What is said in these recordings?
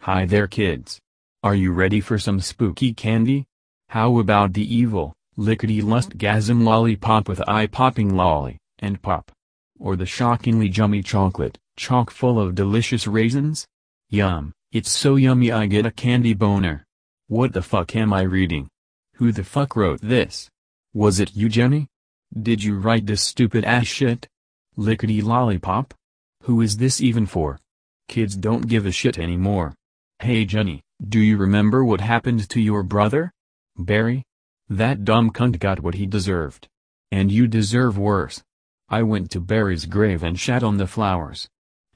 Hi there kids. Are you ready for some spooky candy? How about the evil, lickety-lust-gasm lollipop with eye-popping lolly, and pop? Or the shockingly yummy chocolate, chock full of delicious raisins? Yum, it's so yummy I get a candy boner. What the fuck am I reading? Who the fuck wrote this? Was it you Jenny? Did you write this stupid ass shit? Lickety lollipop? Who is this even for? Kids don't give a shit anymore. Hey Jenny, do you remember what happened to your brother? Barry? That dumb cunt got what he deserved. And you deserve worse. I went to Barry's grave and shat on the flowers.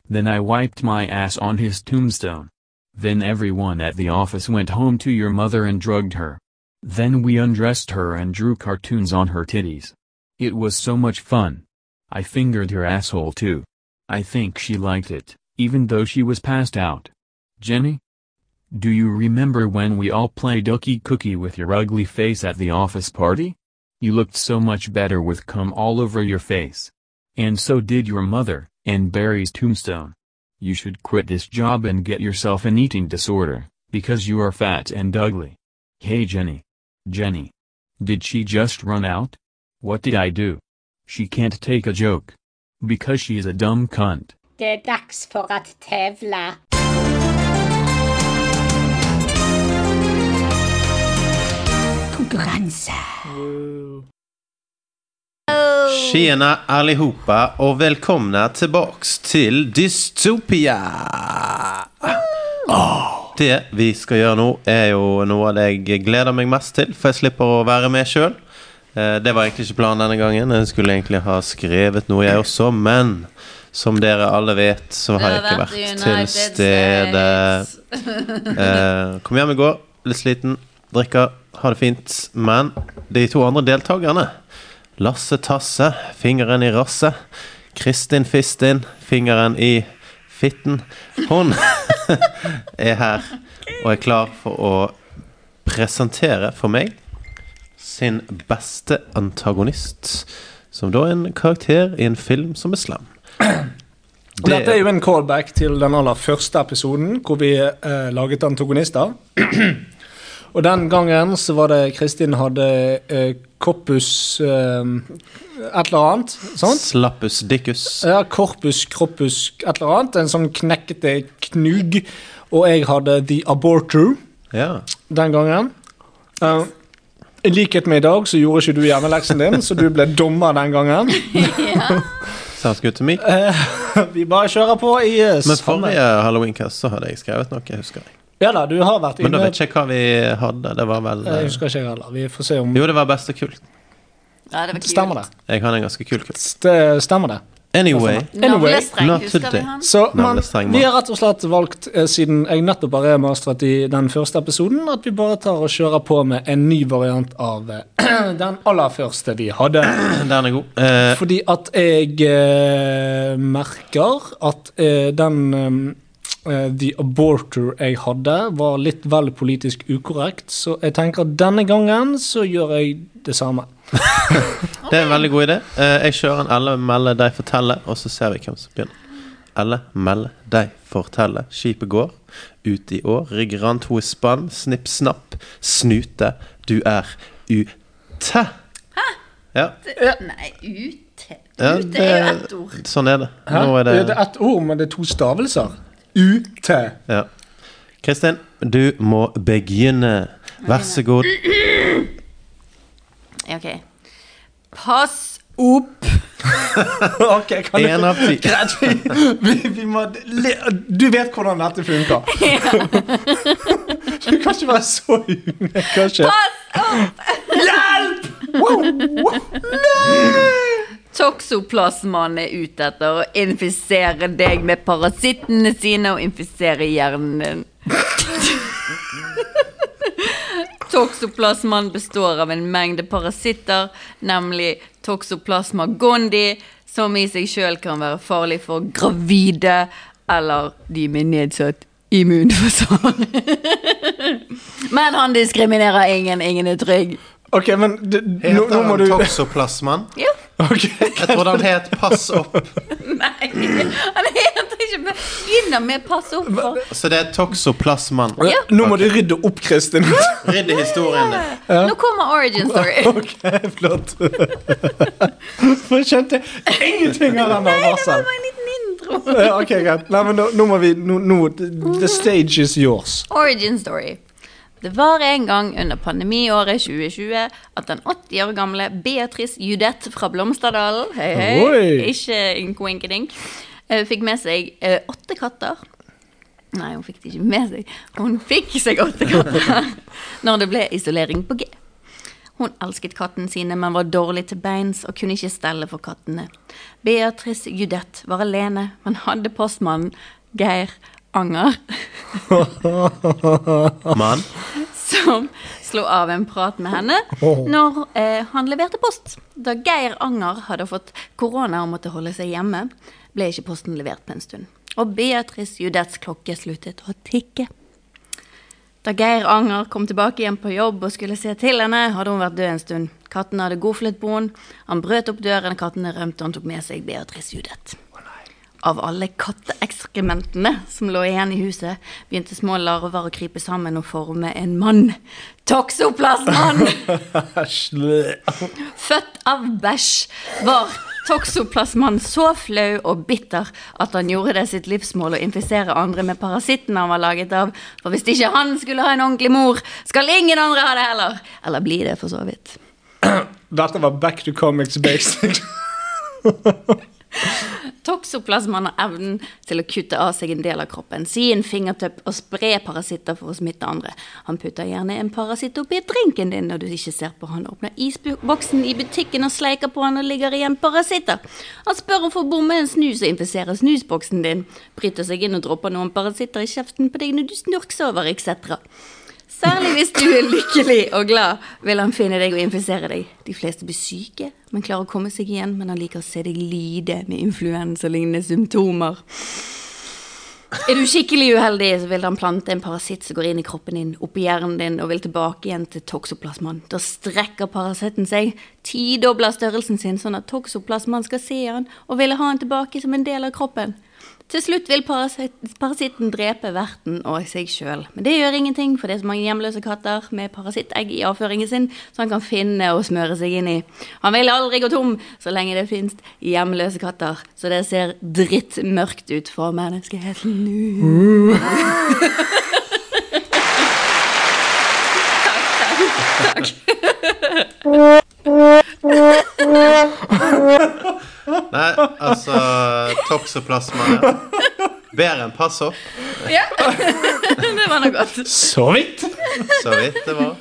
Then I wiped my ass on his tombstone. Then everyone at the office went home to your mother and drugged her. Then we undressed her and drew cartoons on her titties. It was so much fun. I fingered her asshole too. I think she liked it, even though she was passed out. Jenny? Do you remember when we all played Ookie Cookie with your ugly face at the office party? You looked so much better with cum all over your face. And so did your mother, and Barry's tombstone. You should quit this job and get yourself an eating disorder, because you are fat and ugly. Hey Jenny. Jenny. Did she just run out? What did I do? She can't take a joke. Because she is a dumb cunt. Det är dags för att tävla. Konkurrensen. Tjena allihopa och välkomna tillbaks till Dystopia! Det vi skal gjøre nå er jo noe av det jeg gleder meg mest til, for jeg slipper å være med sjøl. Det var egentlig ikke planen denne gangen. Jeg skulle egentlig ha skrevet noe, jeg også, men som dere alle vet, så har jeg ikke vært til stede. Eh, Kom hjem i går, litt sliten, drikker, har det fint. Men de to andre deltakerne, Lasse Tasse, fingeren i rasse, Kristin Fistin, fingeren i fitten, hun er her og er klar for å presentere for meg sin beste antagonist, som da er en karakter i en film som er slam. Og Dette er jo en callback til den aller første episoden hvor vi eh, laget antagonister. Og den gangen så var det Kristin hadde eh, koppus eh, et eller annet. Sant? Slappus dickus. Ja, korpus, kroppus, et eller annet. En sånn knekkete knug. Og jeg hadde The Aborter Ja. den gangen. Eh, I likhet med i dag så gjorde ikke du hjemmeleksen din, så du ble dommer den gangen. Sounds good to me. Vi bare kjører på i eh, Men samme- forrige Halloweencast så hadde jeg skrevet noe, jeg husker jeg. Ja da, du har vært Men da inne vet jeg ikke hva vi hadde. Det var vel eh, Jeg Eh, husker ikke jeg heller. Vi får se om Jo, det var best og kult. Ja, det var kult. Stemmer det. Jeg hadde en ganske kul kult. det stemmer det. Anyway. Anyway, Navlestreng, not husker vi today. han? Så, men Navlestang, vi Mats. har rett og slett valgt, eh, siden jeg nettopp har remastret i den første episoden, at vi bare tar og kjører på med en ny variant av eh, den aller første vi hadde. Den er god. Eh, Fordi at jeg eh, merker at eh, den eh, The Aborter jeg hadde, var litt vel politisk ukorrekt, så jeg tenker at denne gangen så gjør jeg det samme. det er en veldig god idé. Eh, jeg kjører en Elle melde deg fortelle, og så ser vi hvem som begynner. Elle melde deg fortelle. Skipet går. Ut i år. Rigger an to i spann. Snipp snapp. Snute. Du er ute. Ja, Nei, ute. Ja, Ute er jo det- ett E ord. sånn er det. Hæ? Nå er det... det er ett ord, men det er to stavelser. Ute. Ja. Kristin, du må begynne. Vær så god. Ja, OK. Pass opp. Ok, kan Én av ti. Vi, vi må le- Du vet hvordan dette funker. Du kan ikke være så humør, kanskje. Pass opp! Toxoplasmaen er ute etter å infisere deg med parasittene sine og infisere hjernen din. Toxoplasmaen består av en mengde parasitter, nemlig toxoplasma gondi, som i seg sjøl kan være farlig for gravide eller de med nedsatt immunforsvar. Men han diskriminerer ingen. Ingen er trygg. Ok, men du, nå, nå må du Toxoplasman? Ja. Ok, Jeg trodde han het Pass opp. Nei, han heter ikke men begynner med passord for Så det er toxoplasmaen. Ja. Nå må du rydde opp, Kristin. Rydd i historien din. Nå kommer origin story. ok, flott. For jeg skjønte ingenting av den Nei, det var varselen. bare en liten intro. Ja, ok, greit. Nei, men nå, nå må vi nå, nå, The stage is yours. Origin story. Det var en gang under pandemiåret 2020 at den 80 år gamle Beatrice Judeth fra Blomsterdalen hei, hei, Oi. ikke en koinkedink, eh, fikk med seg eh, åtte katter. Nei, hun fikk det ikke med seg. Hun fikk seg åtte katter når det ble isolering på G. Hun elsket kattene sine, men var dårlig til beins og kunne ikke stelle for kattene. Beatrice Judeth var alene, men hadde postmannen Geir Anger, Mann. som slo av en prat med henne når eh, han leverte post. Da Geir Anger hadde fått korona og måtte holde seg hjemme, ble ikke posten levert på en stund. Og Beatrice Judeths klokke sluttet å tikke. Da Geir Anger kom tilbake igjen på jobb og skulle se til henne, hadde hun vært død en stund. Katten hadde godflet på henne. Han brøt opp døren, kattene rømte, og han tok med seg Beatrice Judeth. Av alle katteekskrementene som lå igjen i huset, begynte små larver å krype sammen og forme en mann. Toxoplasmann! Født av bæsj var toxoplasmann så flau og bitter at han gjorde det sitt livsmål å infisere andre med parasitten han var laget av, for hvis ikke han skulle ha en ordentlig mor, skal ingen andre ha det heller. Eller bli det, for så vidt. Dette var back to comics basics. Toxoplasmaen har evnen til å kutte av seg en del av kroppen, si en fingertupp og spre parasitter for å smitte andre. Han putter gjerne en parasitt oppi drinken din når du ikke ser på han. Åpner isboksen i butikken og sleiker på han og ligger igjen parasitter. Han spør om å få bomme en snus og infiserer snusboksen din. Bryter seg inn og dropper noen parasitter i kjeften på deg når du snorksover, etc. Særlig hvis du er lykkelig og glad, vil han finne deg og infisere deg. De fleste blir syke, men klarer å komme seg igjen, men han liker å se deg lide med influensalignende symptomer. Er du skikkelig uheldig, så vil han plante en parasitt som går inn i kroppen din, opp i hjernen din, og vil tilbake igjen til toksoplasmaen. Da strekker parasitten seg, tidobler størrelsen sin, sånn at toksoplasmaen skal se han og ville ha han tilbake som en del av kroppen. Til slutt vil parasit parasitten drepe verten og seg sjøl. Men det gjør ingenting, for det er så mange hjemløse katter med parasittegg i avføringen sin, så han kan finne og smøre seg inn i. Han vil aldri gå tom så lenge det fins hjemløse katter, så det ser drittmørkt ut for menneskeheten nå. Nei, altså Toxoplasma. Bedre enn passord, Det var noe godt. Så vidt. så vidt det var.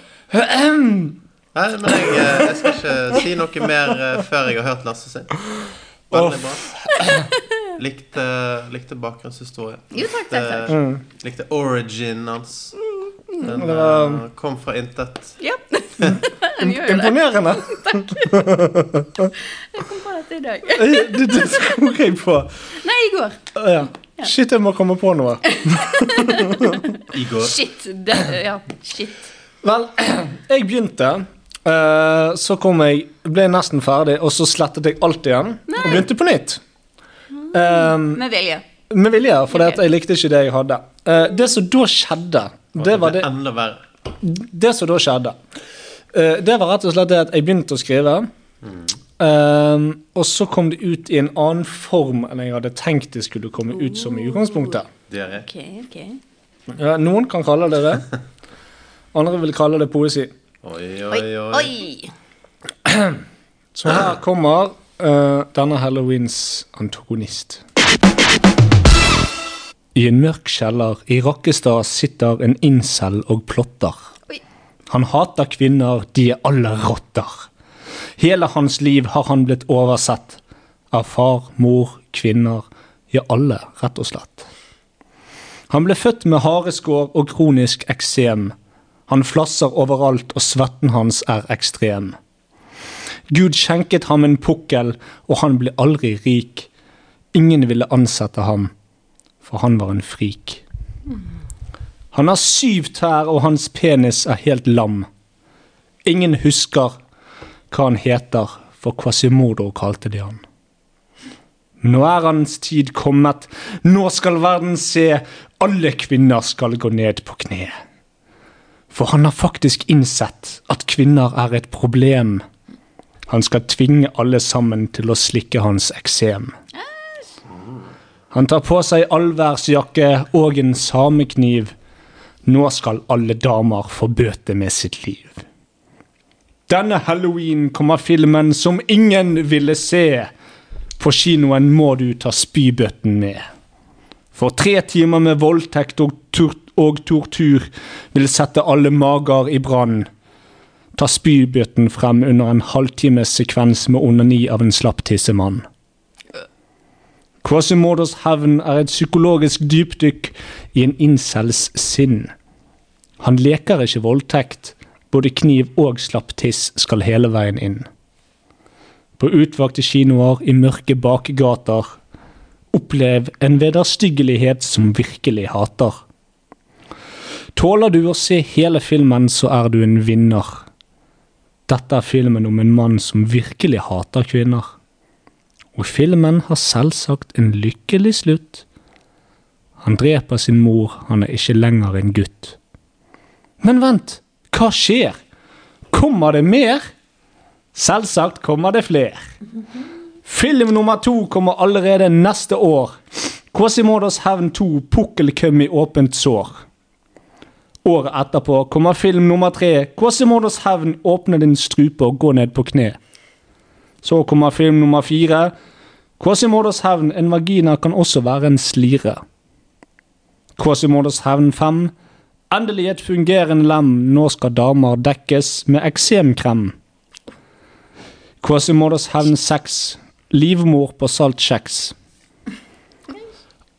Nei, men jeg, eh, jeg skal ikke si noe mer eh, før jeg har hørt Lasse sin. Veldig bra. Likte, likte bakgrunnshistorie. Jo, takk, takk, takk. Mm. Likte, likte origin hans. Den eh, kom fra intet. Ja. Han gjør jo det. Imponerende. Jeg kom på dette i dag. Det, det tror jeg på. Nei, i går. Ja. Shit, jeg må komme på noe. Igor. Shit. Det, ja, shit. Vel, jeg begynte. eh, så kom jeg, ble jeg nesten ferdig, og så slettet jeg alt igjen. Og begynte på nytt. Um, Med vilje. med vilje, for jeg likte ikke det jeg hadde. Eh, det som da skjedde, det var det Enda verre. det som da skjedde, eh, det var rett og slett det at jeg begynte å skrive. eh, og så kom det ut i en annen form enn jeg hadde tenkt det skulle komme ut som i utgangspunktet. Diaré. OK, OK. Ja, noen kan kalle det det. Andre vil kalle det poesi. Oi, Oi, oi, oi. oi. Så her kommer eh, denne halloweens antagonist. I en mørk kjeller i Rakkestad sitter en incel og plotter. Oi. Han hater kvinner, de er alle rotter. Hele hans liv har han blitt oversett. Av far, mor, kvinner, ja alle, rett og slett. Han ble født med hareskår og kronisk eksem. Han flasser overalt, og svetten hans er ekstrem. Gud skjenket ham en pukkel, og han ble aldri rik. Ingen ville ansette ham, for han var en frik. Han har syv tær, og hans penis er helt lam. Ingen husker hva han heter, for Quasimodo kalte de han. Nå er hans tid kommet. Nå skal verden se. Alle kvinner skal gå ned på kne. For han har faktisk innsett at kvinner er et problem. Han skal tvinge alle sammen til å slikke hans eksem. Han tar på seg allværsjakke og en samekniv. Nå skal alle damer få bøte med sitt liv. Denne halloween kommer filmen som ingen ville se. På kinoen må du ta spybøtten med. For tre timer med voldtekt og, tur og tortur vil sette alle mager i brann. Ta spybøtten frem under en halvtimes sekvens med onani av en slapp tissemann. Quasimodos hevn er et psykologisk dypdykk i en incels sinn. Han leker ikke voldtekt. Både kniv og slapp tiss skal hele veien inn. På utvalgte kinoer i mørke bakgater. Opplev en vederstyggelighet som virkelig hater. Tåler du å se hele filmen, så er du en vinner. Dette er filmen om en mann som virkelig hater kvinner. Og filmen har selvsagt en lykkelig slutt. Han dreper sin mor, han er ikke lenger en gutt. Men vent, hva skjer? Kommer det mer? Selvsagt kommer det flere. Film nummer to kommer allerede neste år. Quasimodos hevn 2, Pukkelkøm i åpent sår. Året etterpå kommer film nummer tre, Quasimodos hevn, Åpne din strupe og gå ned på kne. Så kommer film nummer fire. Quasimodos hevn, en vagina kan også være en slire. Quasimodos hevn fem. Endelig et fungerende lem, nå skal damer dekkes med eksemkrem. Quasimodos hevn seks. Livmor på saltkjeks.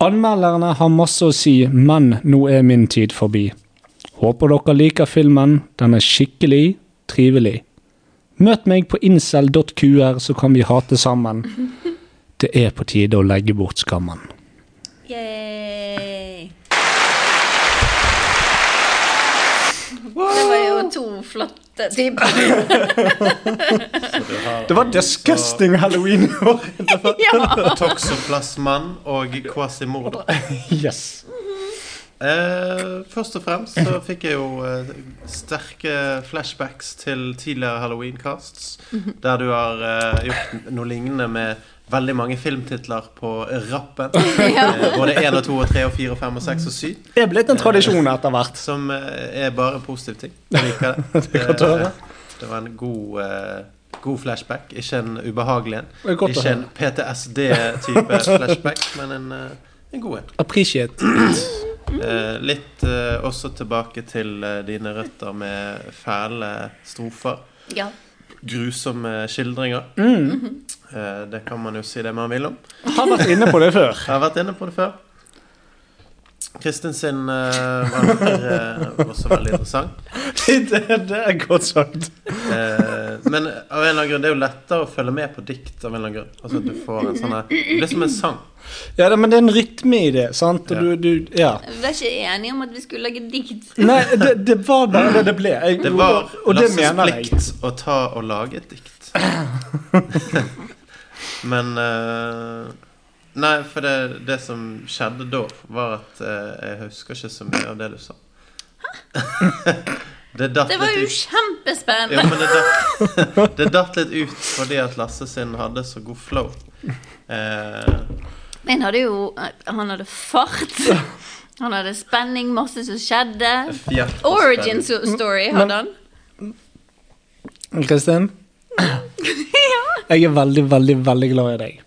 Anmelderne har masse å si, men nå er min tid forbi. Håper dere liker filmen. Den er skikkelig trivelig. Møt meg på incel.qr, så kan vi hate sammen. Det er på tide å legge bort skammen. Yay. Det var jo to flotte typer. Det var disgusting halloween i år. Toxoplasman og Quasimodo. Yes. Eh, først og fremst så fikk jeg jo eh, sterke flashbacks til tidligere Halloween-casts. Mhm. Der du har eh, gjort noe lignende med veldig mange filmtitler på rappen. Eh, både én og to og tre og fire og fem og seks og syv. Det er blitt en tradisjon etter hvert. Som eh, er bare positive ting. Jeg liker det. Det er godt å høre. Eh, det var en god eh, God flashback, ikke en ubehagelig en. Det er godt å Ikke en PTSD-type flashback, men en, eh, en god en. Appreciate. Eh, litt eh, også tilbake til eh, dine røtter med fæle strofer. Ja. Grusomme skildringer. Eh, det kan man jo si det man vil om. Har vært inne på det før. Jeg har vært inne på det før. Kristin sin eh, var eh, også veldig interessant. Det, det er godt sagt. Eh, men av en eller annen grunn, det er jo lettere å følge med på dikt av en eller annen grunn. Altså at du får en sånn her Det er som en sang. Ja, det, Men det er en rytme i det, sant? Og Ja. du, du, ja. Vi var ikke enige om at vi skulle lage dikt. Nei, det, det var bare det det ble. Jeg, Det var og det Lasses mener jeg. plikt å ta og lage et dikt. Men eh, Nei, for det, det som skjedde da, var at eh, jeg husker ikke så mye av det du sa. det datt Det var jo litt ut. Jo, kjempespennende. men det datt, det datt litt ut fordi at Lasse sin hadde så god flow. Eh, Men hadde jo eh, Han hadde fart. Han hadde spenning, masse som skjedde. fjert og Origin so- story hadde han. Kristin? Ja. Jeg er veldig, veldig, veldig glad i deg.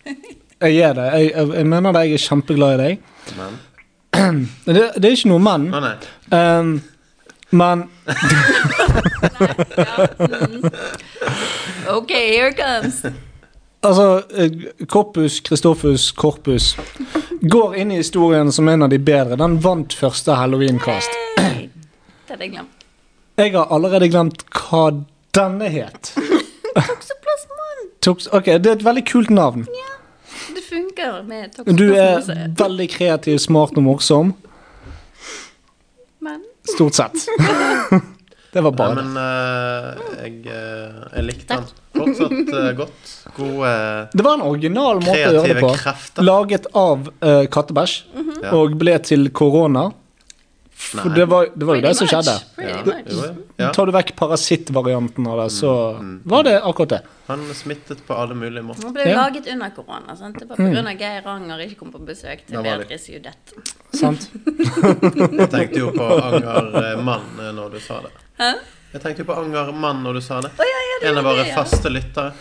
Jeg er det. Jeg, jeg, jeg mener det. Jeg er kjempeglad i deg. spenn. Men, Men Det, det er ikke noe men. å nei. Um, men Ok, here it comes. altså eh, Korpus, Kristoffus, Korpus går inn i historien som en av de bedre. Den vant første Halloween-kast. Hey. Det hadde jeg glemt. Jeg har allerede glemt hva denne het. Toksoplasman. Toks- Ok, Det er et veldig kult navn. Det funker med Du er toksoplasmose. veldig kreativ, smart og morsom. Men Stort sett. Det var Nei, bare det. men eh, jeg, eh, jeg likte den fortsatt eh, godt. God eh, Det var en original måte å gjøre det Kreative på. krefter. Laget av eh, kattebæsj, Ja. og ble til korona. For Nei. det var, det var jo det som much, skjedde. pretty ja, much. jo, ja. Mm, Ja. Tar du vekk parasittvarianten av det, så var det akkurat det. Han smittet på alle mulige måter. Den ble Ja. laget under korona. sant? Det var pga. Geir Anger ikke kom på besøk til Da var det- Beatrice Judett. Sant? Jeg tenkte jo på Angermann eh, når du sa det. Jeg tenkte jo på Angermann når du sa det. ja, ja, det en av var våre det, ja. faste lyttere.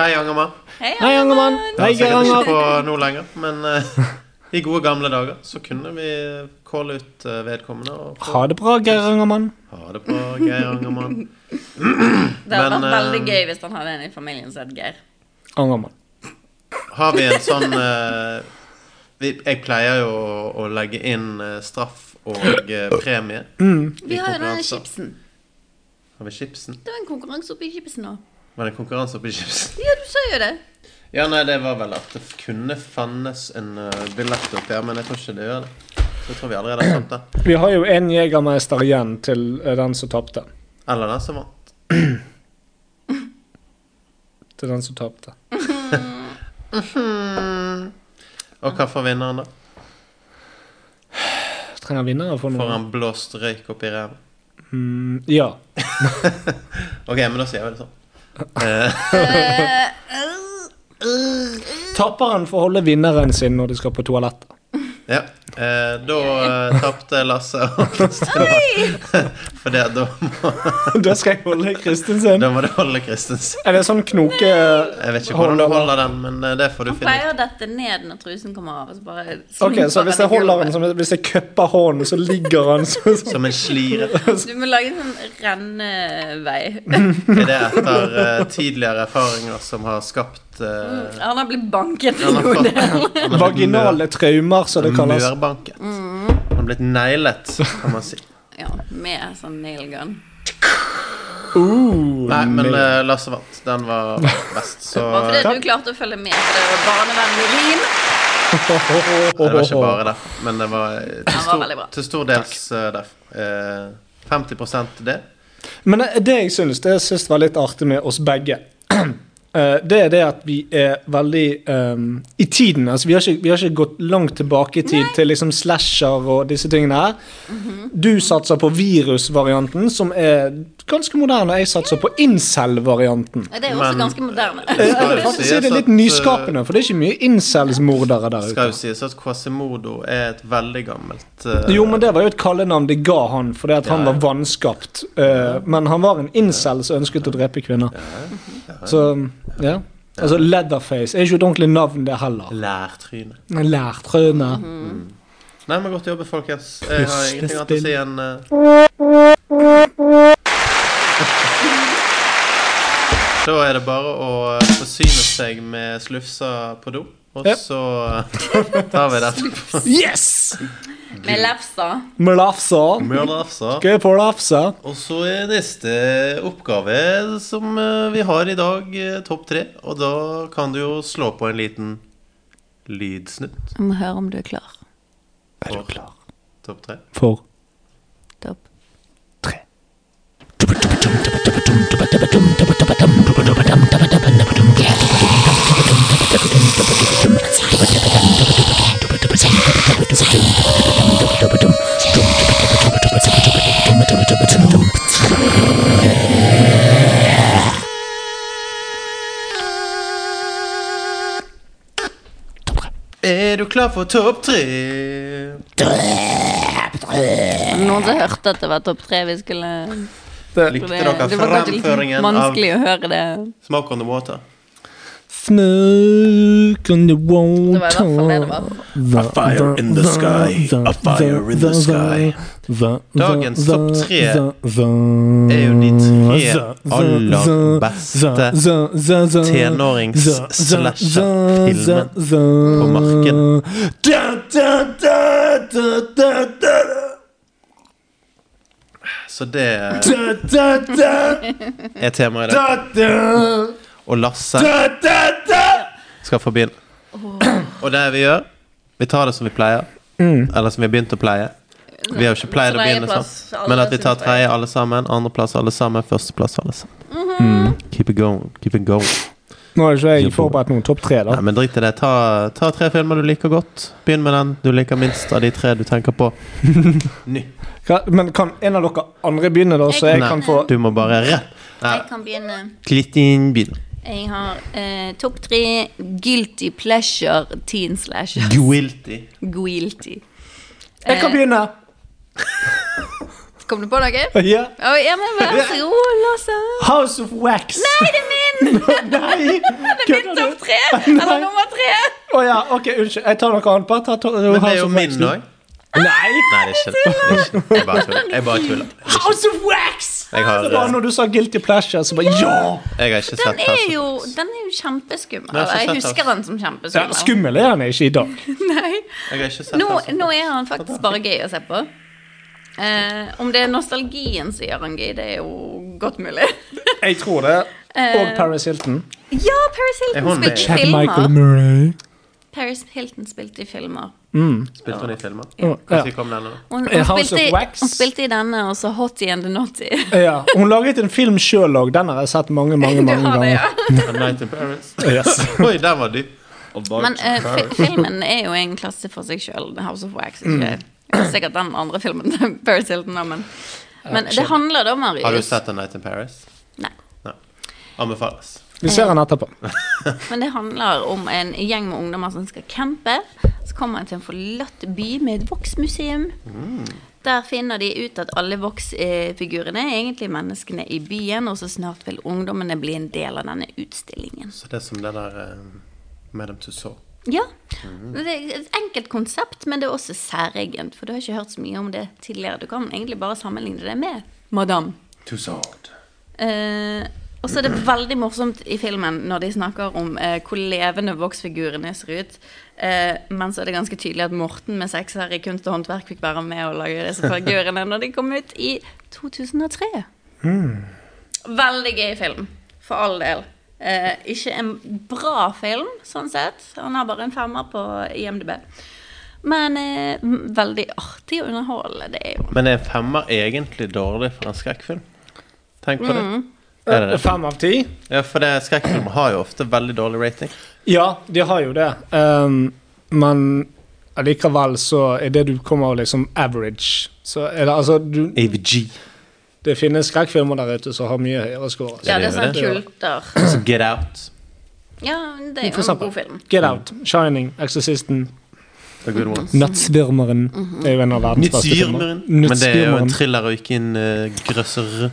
Hei, Angermann. Hei, Hei, Angermann! Jeg Hei, er Geir sikkert ikke Anger. på nå lenger, men eh, i gode gamle dager så kunne vi calle ut eh, vedkommende og få Ha det bra, Geir Angermann. ha det på Geir Angermann. Det hadde Men, vært veldig eh, gøy hvis han hadde en i familien som het Geir. Angermann. Har vi en sånn eh, vi, Jeg pleier jo å, å legge inn eh, straff og eh, premie. Vi har eh, jo denne konkurranser. chipsen. Har vi chipsen? Det var en konkurranse oppe i chipsen nå. Var det en konkurranse oppi chipsen? Ja, du sa jo det. Ja, nei, det var vel at det kunne fannes en eh, billett oppi her, men jeg tror ikke det gjør det. Så jeg tror vi allerede har tatt det. Vi har jo en jegermeister igjen til eh, den som tapte. Eller den som vant. Til den som tapte. Og hva får vinneren, da? Trenger vinnere for Får noe? han blåst røyk oppi ræva? Mm, ja. OK, men da sier vi det sånn. Taperen får holde vinneren sin når de skal på toalettet. Ja. Eh, da eh, tapte Lasse og Kristin. For det, da, må, da skal jeg holde Kristin sin. da må du holde Kristinsen. Er det sånn knoke... Jeg vet ikke hvordan du holder den, men eh, det får du Han finne ut. pleier å dette ned når trusen kommer av. Og så bare Ok, slumper så hvis jeg han i holder den gulvet. som Hvis jeg køpper hånden, så ligger han sånn som Som en slire. Du må lage en sånn rennevei. Er det etter eh, tidligere erfaringer som har skapt eh, Han har blitt banket i han har fått- hodet. han har fått vaginale traumer, som det mør- kalles. Mørbanket. Mm. Han har blitt neglet, kan man si. Ja, med sånn nail gun. Uh, Nei, men nail. eh, Lasse vant. Den var best, så eh, Bare Nei, fordi du klarte å følge med. så Det var barnevennlig rim. Det var ikke bare derfor, men det var eh, til, var stor, veldig bra. til stor dels eh, derfor. Eh, 50 det. Men eh, det jeg syns det jeg syns var litt artig med oss begge, eh, det er det at vi er veldig eh, i tiden. Altså, vi, har ikke, vi har ikke gått langt tilbake i tid til liksom slasher og disse tingene her. Du satser på virusvarianten, som er ganske moderne. Jeg satser på incel-varianten. Det er jo også Men- ganske moderne. Det skal Jeg vil jo faktisk sies si det er at, litt eh, nyskapende, for det er ikke mye incels-mordere der ute. Skal jo sies at Quasimodo er et veldig gammelt eh, Jo, men det var jo et kallenavn de ga han fordi at han Ja, ja. var vanskapt. Eh, men han var en incel som ønsket å drepe kvinner. Så ja. Altså Leatherface er ikke et ordentlig navn, det heller. lærtryne. Men Lærtrøne. Mhm. Nei, men godt jobbet, folkens. Jeg har ingenting annet å si enn eh, Da er det bare å eh, forsyne seg med slufsa på do, og Ja. så eh, tar vi den. Yes! Med lefsa. Med lafsa. Med lafsa. Skal jeg på lafsa? altså. Og så er neste oppgave som eh, vi har i dag, eh, topp tre. Og da kan du jo slå på en liten lydsnutt. Jeg må høre om du er klar. Er du klar? Topp tre. For Topp. tre. Er du klar for topp tre? Noen som hørte at det var topp tre vi skulle Likte dere Det var kanskje litt fremføringen av vanskelig å høre det. Smak on the water? Smoke on the water. Det var i hvert fall det det var. A fire in the sky. A fire in the sky. Dagens topp tre er jo de tre aller mm, beste tenårings-slasher-filmen på marken. Så det er temaet i dag. Og Lasse skal få begynne. Og det vi gjør Vi tar det som vi pleier. Eller som vi har begynt å pleie. Vi har jo ikke pleid å begynne sånn. Tredjeplass, alle Men at vi tar synes tredje jeg. alle sammen, andreplass alle sammen, førsteplass alle sammen. Mhm. Keep it going. Keep it going. Nå har ikke jeg forberedt noen topp tre, da. Nei, men drit i det. Ta, ta tre filmer du liker godt. Begynn med den du liker minst av de tre du tenker på. Hva- Men kan en av dere andre begynne, da, så jeg Nei, kan få Du må bare rett. Nei, Jeg kan begynne. klitt inn bilen. Jeg har eh, topp tre guilty pleasure teen slasher. Guilty. Guilty. Jeg kan begynne! Kom du på noe? Ja. Å, ja, men vær så god, Lasse. House of Wax! Nei, det er min! Nei! Det er min topp tre! Eller nummer tre. Å ja, ok, unnskyld. Jeg tar noe annet. Bare ta to, Men det er jo min òg. Nei! Nei, det er ikke det. er ikke- Jeg bare tuller. Jeg bare tuller. House of Wax! Jeg har, Det var eh, når du sa Guilty Pleasure, så bare ja! jeg har ikke sett Den er House of jo, Wax. den er jo kjempeskummel. Nei, altså- så Jeg sett oss. husker den som ja kjempeskummel. skummel er han ikke i dag. Nei. Jeg har ikke sett Nå, House of nå Wax. er han faktisk bare gøy å se på. Eh, om det er nostalgien som gjør han gøy, det er jo godt mulig. Jeg tror det. Og Paris Hilton. Ja, Paris Er Hilton hun med? spilte i filmer. Murray. Paris Hilton spilte i filmer. Spilte hun i filmer? Ja. Når kom den? da? Hun, Eh, hun, House spilte, of i- Wax. hun spilte i denne, og så Hotty and the Notty. Ja, Hun laget en film sjøl òg. Den har jeg sett mange mange, Du mange har det, ganger. ja. A Night in Paris. Yes. Oi, den var dyp. Men eh, fi filmen er jo en klasse for seg sjøl. House of Wax. Mm. Ikke? Sikkert den andre filmen til Paris Hilton, da, men Men det handler da, Marius. Har du sett A Night in Paris? Nei. Nei. Anbefales. Vi ser den etterpå. Men det handler om en gjeng med ungdommer som skal campe. Så kommer de til en forlatt by med et voksmuseum. Mm. Der finner de ut at alle voksfigurene er egentlig menneskene i byen, og så snart vil ungdommene bli en del av denne utstillingen. Så det er som det der eh, Madame Tussauds. Ja. Det er et enkelt konsept, men det er også særegent, for du har ikke hørt så mye om det tidligere. Du kan egentlig bare sammenligne det med Madame. Tussauds. Eh, og så er det veldig morsomt i filmen når de snakker om eh, hvor levende voksfigurene ser ut. Eh, men så er det ganske tydelig at Morten med sekser i kunst og håndverk fikk være med og lage disse figurene når de kom ut i 2003. Hmm. Veldig gøy film, for all del. Eh, ikke en bra film, sånn sett. Han har bare en femmer på IMDb. Men eh, m- veldig artig å underholde, det er jo. Men er en femmer egentlig dårlig for en skrekkfilm? Tenk på det. Mm. Er det det? Fem av ti? Ja, for det skrekkfilmer har jo ofte veldig dårlig rating. Ja, de har jo det. Ehm, men allikevel så er det du kommer liksom average. Så er det altså du, AVG. Det finnes skrekkfilmer der ute som har mye høyere score. Ja, det er det sånn det? kulter. Så Get Out. Ja, det er For jo en eksempel. god film. Get Out, Shining, Exorcisten, The Good Ones. Nattsvirmeren. Mhm. Det er jo en av verdens beste filmer. Nyttsvirmeren. Men det er jo en Nattsvirmeren. thriller og ikke en eh, grøsser.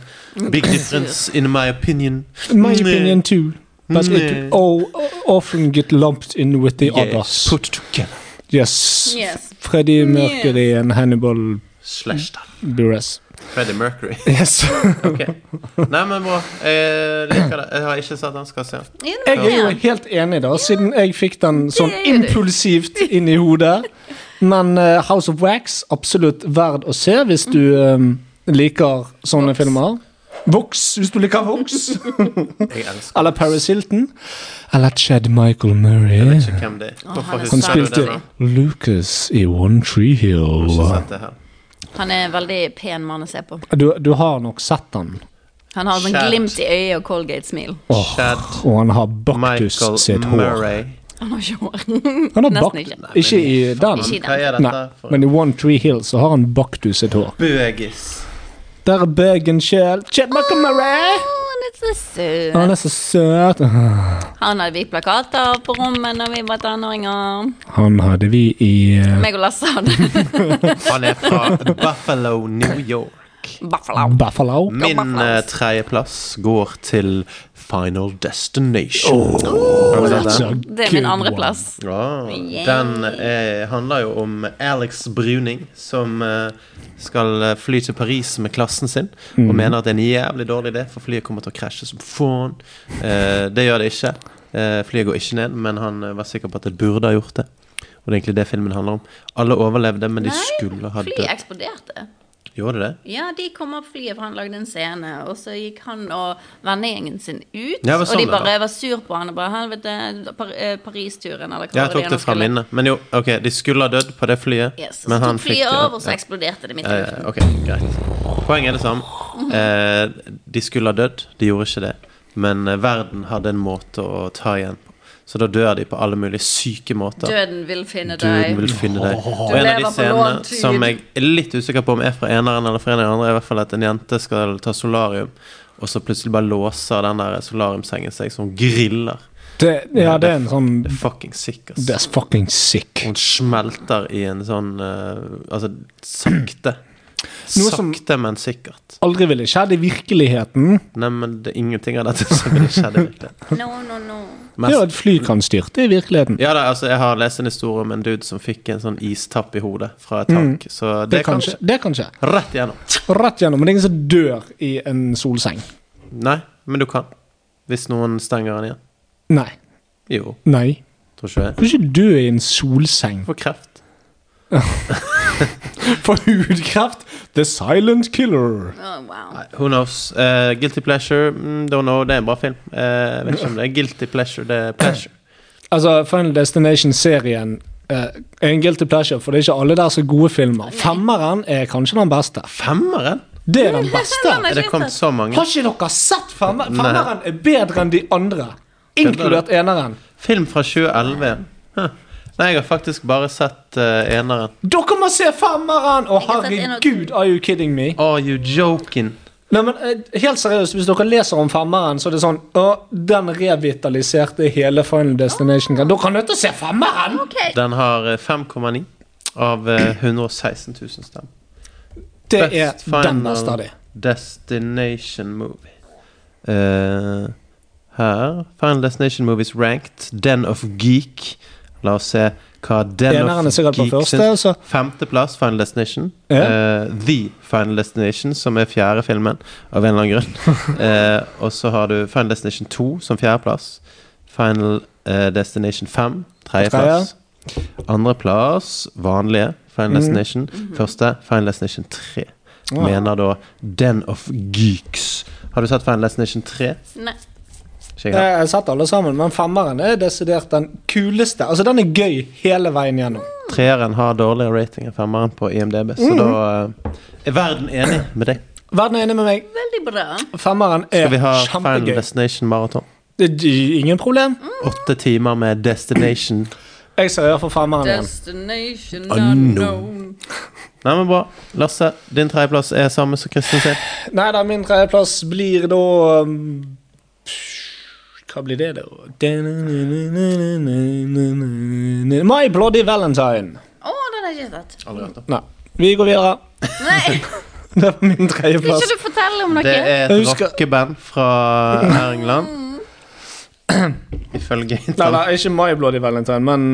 Big difference in my opinion. Mm, eh, My opinion too. But Nei. it all, oh, often get lumped in with the Yes. others. Put together. Yes. Yes. Freddie Mercury and Hannibal Slash that. Buress. Freddie Mercury. Yes. Ok. Nei, men bra. Jeg eh, liker det. Jeg har ikke sett den. Skal se den. Ja, Jeg det er jo han. helt enig, da, siden jeg fikk den sånn Det er jo du. impulsivt inn i hodet. Men eh, House of Wax, absolutt verd å se hvis du eh, liker sånne filmer. Vox, hvis du liker Vox. Jeg elsker Eller Paris Hilton. Eller Chad Michael Murray. ikke hvem det er. Hvorfor han er Han husker du det? spilte Lucas i One Tree Hill. Ikke sett det her. Han er en veldig pen mann å se på. Du, du har nok sett den. Han har sånn Shout. glimt i øyet og Colgate-smil. Chad Og han har Baktus sitt Michael hår. Murray. Han har ikke hår. Han har Nesten Baktus ikke. Ikke i den. Ikke i den. Hva er Nei, dette for men i One Tree Hill så har han Baktus sitt hår. bøgis? Der er Bergen sjel. Chad Michael Murray! Å, Han er så søt. Han er så søt. Han hadde vi plakater på rommet når vi var tenåringer. Han hadde vi i eh, Meg og Lasse hadde Han er fra Buffalo, New York. Buffalo. Buffalo. Min eh, tredjeplass går til Final Destination. Har du sett den? Oh, Det er min andreplass. Ja, den eh, handler jo om Alex Bruning, som eh, skal eh, fly til Paris med klassen sin, Mm. og mener at det er en jævlig dårlig idé, for flyet kommer til å krasje som faen. Eh, det gjør det ikke. Eh, flyet går ikke ned, men han eh, var sikker på at det burde ha gjort det. Og det er egentlig det filmen handler om. Alle overlevde, men de Nei, skulle ha dødd. Flyet eksploderte. Gjorde det? Ja, de kom opp flyet, for han lagde en scene. Og så gikk han og vennegjengen sin ut. Ja, det var og de sånn det bare var sur på han og bare han, vet du, Par eh, Paris-turen, eller hva Jeg tok det fra minnet. Men jo, ok, de skulle ha dødd på det flyet. Yes, og men så han tok flyet fikk det. av, og så Ja. eksploderte det midt i Eh, luften. ok, greit. Poenget er det samme. Mhm. Eh, de skulle ha dødd, de gjorde ikke det. Men eh, verden hadde en måte å ta igjen på. Så da dør de på alle mulige syke måter. Døden vil finne Døden deg. vil finne deg. Og Du en av de lever på scenene låntid. som jeg er litt usikker på om er fra eneren eller fra en av de andre, er i hvert fall at en jente skal ta solarium, og så plutselig bare låser den der solariumsengen seg som griller. Det, ja, det er en sånn Det er fucking sick, ass. That's fucking sick. Hun smelter i en sånn eh, Altså, sakte. Noe som- Sakte, men sikkert. Aldri ville skjedd i virkeligheten. Nei, men det er ingenting av dette som ville skjedd i virkeligheten. No, no, no. Det er jo Mest- at fly kan styrte i virkeligheten. Ja, da, altså, jeg har lest en historie om en dude som fikk en sånn istapp i hodet fra et tak. Så det, Mm. Det kan skje. Det kan kan skje. skje. Rett igjennom. Rett gjennom. Men det er ingen som dør i en solseng. Nei, men du kan. Hvis noen stenger den igjen. Nei. Jo, Nei. tror ikke Du jeg. kan ikke dø i en solseng. For kreft. For hudkreft! The silent killer. Oh, wow. Nei, who knows? Eh, guilty pleasure? Mm, don't know. Det er en bra film. Eh, jeg vet ikke om det er guilty pleasure. Det er pleasure. Altså, Final Destination-serien eh, er en guilty pleasure, for det er ikke alle der som er gode filmer. Femmeren er kanskje den beste. Femmeren? Det er den beste! Den er Er det ikke kommet sett. så mange? Har ikke dere sett femmeren? Nei. Femmeren er bedre enn de andre. Inkludert eneren. Film fra 2011. Huh. Nei, jeg har faktisk bare sett eh, eneren. Dere må se femmeren! Å, har sett en og to. herregud, are you kidding me? Are you joking? Nei, men eh, helt seriøst, Hvis dere leser om femmeren, så er det sånn Å, den revitaliserte hele Final Destination. Dere er nødt til å se femmeren! Den har eh, 5,9 av eh, 116 000 stemmer. Det er Best den Final beste av de. Destination Movie. Eh, her Final Destination Movies Ranked. Den of Geek. La oss se hva Den Eneren er of sikkert på Geek første, syns. så Femteplass, Final Destination. Ja. Eh, The Final Destination, som er fjerde filmen, av en eller annen grunn. Eh, og så har du Final Destination 2 som fjerdeplass. Final eh, Destination 5, tredjeplass. Andreplass, vanlige Final Destination. Første, Final Destination 3. Mener da Den of Geeks. Har du sett Final Destination 3? Ikke Nei. jeg Eh, Jeg har. har sett alle sammen, men femmeren er desidert den kuleste. Altså, den er gøy hele veien gjennom. Treeren har dårligere rating enn femmeren på IMDb, så da eh, er verden enig med deg. Verden er enig med meg. Veldig bra. Femmeren Skal er vi ha Final kjempegøy. Destination maraton? Det er Ingen problem. Mm. Åtte timer med destination. Jeg ser øya for femmeren igjen. Destination Ah, unknown. Nei, men bra. Lasse, din tredjeplass er samme som Kristin sin. Nei da, min tredjeplass blir da um, Hva blir det, da? My Bloody Valentine. Å, den har jeg ikke sett. Nei. Vi går videre. Nei, Det var min vil tredjeplass. ikke du fortelle om noe? Det er Jeg et husker- rockeband fra her i England. Ifølge Nei, internett. nei, ikke My Bloody Valentine, men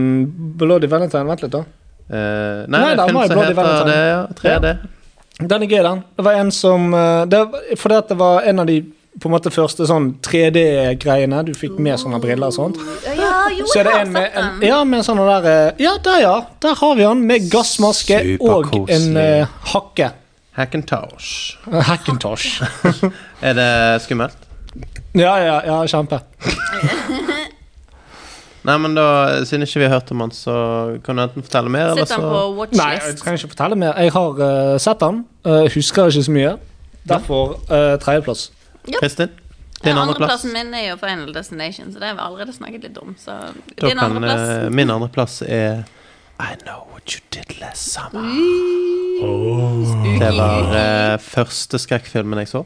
Bloody Valentine. Vent litt, da. Eh, Nei, Nei, det da, er film My som Bloody heter Valentine. det, ja. 3D. Den er gøy, den. Det var en som eh, det, var- Fordi at det var en av de på en måte første sånn 3D-greiene. Du fikk med sånne briller og sånt. Ja, jo, Så jeg er det har en med, sett en, den. ja, med en sånn der eh, Ja, der, ja. Der har vi han. Med gassmaske og Superkoselig. en eh, hakke. Hackintosh. Hackintosh. Er det skummelt? Ja, ja, ja, kjempe. Nei, men da, siden ikke vi har hørt om han, så kan du enten fortelle mer, eller Sitter han på så Nei, jeg watchlist? trenger ikke fortelle mer. Jeg har eh, sett han. eh, husker ikke så mye. Derfor eh, tredjeplass. Kristin, Ja, din andreplass. Andreplassen min er jo Final Destination, så det har vi allerede snakket litt om. Så Da din kan, andreplass eh, Min andreplass er I know what you did last summer. Det var eh, første skrekkfilmen jeg så.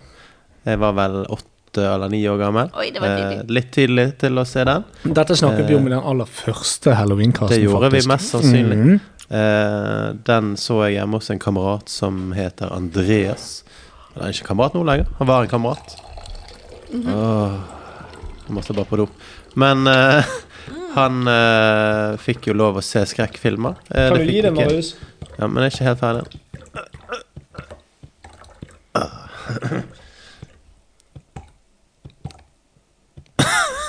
Jeg var vel åtte eller ni år gammel. Oi, det var tidlig. Eh, litt tidlig til å se den. Dette snakket vi om i den aller første Det halloweenkassen. gjorde faktisk. Mm. vi mest sannsynlig. Eh, den så jeg hjemme hos en kamerat som heter Andreas. Han er ikke kamerat nå lenger. Han var en kamerat. Mhm. Åh, jeg måtte bare på do. Men eh, han eh, fikk jo lov å se skrekkfilmer. Eh, Kan du fikk gi det, ikke- Marius? Ja, men jeg er ikke helt ferdig.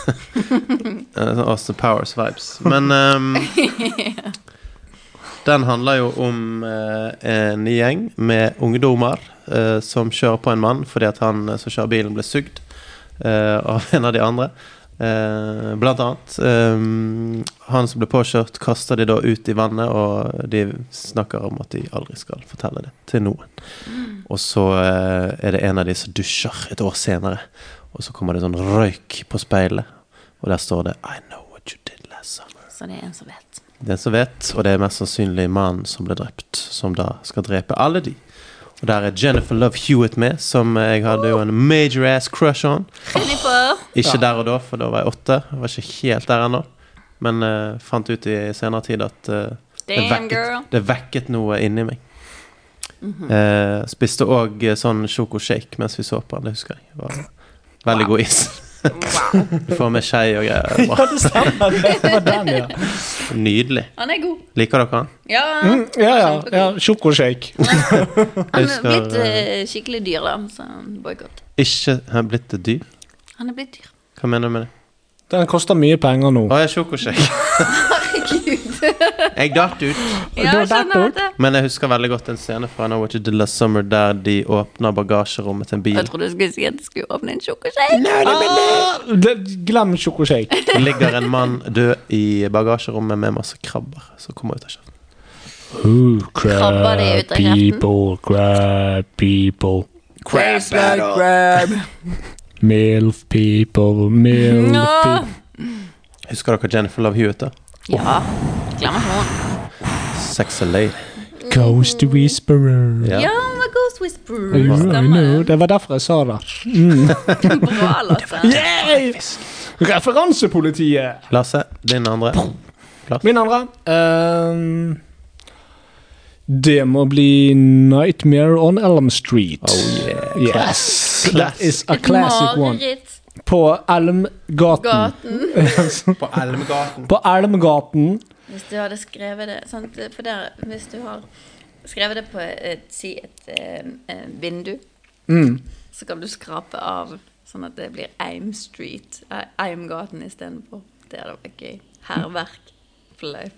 Eh, sånn Austin Powers-vibes. Men ehm, Den handler jo om eh, en gjeng med ungdommer eh, som kjører på en mann fordi at han eh, som kjører bilen, ble sugd eh, av en av de andre. Eh, blant annet. eh, han som ble påkjørt, kaster de da ut i vannet, og de snakker om at de aldri skal fortelle det til noen. Og så eh, er det en av de som dusjer et år senere, og så kommer det sånn røyk på speilet, og der står det I know what you did last summer. Så det er en som vet. Den som vet, og det er mest sannsynlig mannen som ble drept, som da skal drepe alle de. Og der er Jennifer Love Hewitt med, som jeg hadde jo en major ass crush on. Jennifer! Ikke der og da, for da var jeg åtte. Jeg var ikke helt der ennå. Men eh, fant ut i senere tid at eh, det, Damn, girl. vekket, det vekket noe inni meg. Eh, spiste òg eh, sånn sjokoshake mens vi så på den, det husker jeg. Det var veldig god is. Wow. Du får med skei og greier. Ja, Bra. det stemmer. Det var den, ja. Nydelig. Han er god. Liker dere han? Ja. Mm, ja, ja. ja Sjokoshake. Han er husker, blitt eh, skikkelig dyr, da. Så boikott. Ikke har blitt et dyr? Han er blitt dyr. Hva mener du med det? Den koster mye penger nå. Å, jeg er sjokoshake. Herregud. Jeg datt ut. Ja, jeg skjønner dette. Men jeg husker veldig godt en scene fra Know What You Did Last Summer der de åpner bagasjerommet til en bil. Jeg trodde du skulle si at du skulle åpne en sjokoshake. Det- Glem sjokoshake. Det ligger en mann død i bagasjerommet med masse krabber som kommer ut av kjeften. Krabber det ut av kjeften? People, crab people, Crab battle. milf people, milf people. Husker dere Jennifer Love Hewitt? da? Ja. Glemmer ikke hun. Sexy lady. Ghost whisperer. Ja. Ja, hun var Ghost Whisperer. You know, Stemmer. Det var derfor jeg sa det. Bra, altså. Lasse. Yay! Referansepolitiet! Lasse, din andre. Min andre ehm, Det må bli Nightmare on Elm Street. Oh yeah. Yes, that is a Et classic one. mareritt. På Elmgaten. Gaten. På Elmgaten. På Elmgaten. Hvis du hadde skrevet det sant? For der, Hvis du har skrevet det på et, si et eh, eh, vindu, Mm. så kan du skrape av sånn at det blir Eim Street, eh, Eimgaten istedenfor. Det hadde vært gøy. Hærverk for life.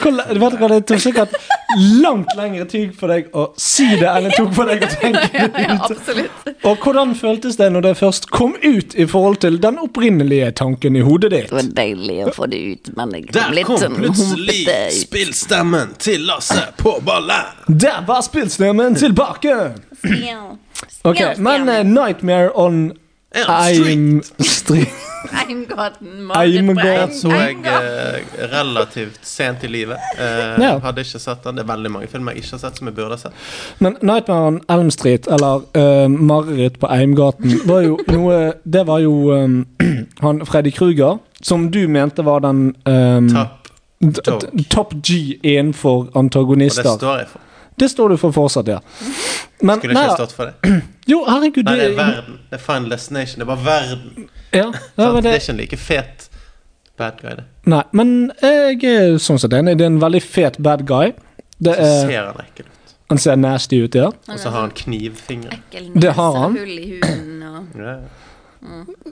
Hvor le- Vet du hva, Det tok sikkert langt lengre tid for deg å si det enn det tok for deg å tenke det Ja, ut. absolutt. Og hvordan føltes det når det først kom ut i forhold til den opprinnelige tanken i hodet ditt? Det var deilig å få det ut, men jeg Der ble litt kom sånn plutselig humpete. spillstemmen til Lasse på ballet. Der var spillstemmen tilbake! Ok, Men eh, Nightmare on Elm Street. Eim Street Eimgaten. Marit på Eimgaten. Eim- Så jeg Eimgaten. eh, relativt sent i livet. Eh, Ja. Hadde ikke sett den. Det er veldig mange filmer jeg ikke har sett som jeg burde ha sett. Men Nightmare on Elm Street, eller eh, Mareritt på Eimgaten, var jo noe Det var jo eh, han Freddy Kruger, som du mente var den eh, Tapp. d- dog. d- Top G innenfor Og det antagonister. står jeg for. Det står du for fortsatt, ja. Men, Skulle ikke nei, jeg stått for det. Jo, herregud, Nei, det er det verden. Det er Final Destination. Det er bare verden. ja, ja, sant? men Det det, er ikke en like fet bad guy, det. Nei, men jeg er sånn sett enig. Det er en veldig fet bad guy. Det Så er, ser han ekkel ut. han ser nasty ut, ja. Han Og er så har sånn han knivfingre. ekkel Det har nese, han. Hull i huden og Ja.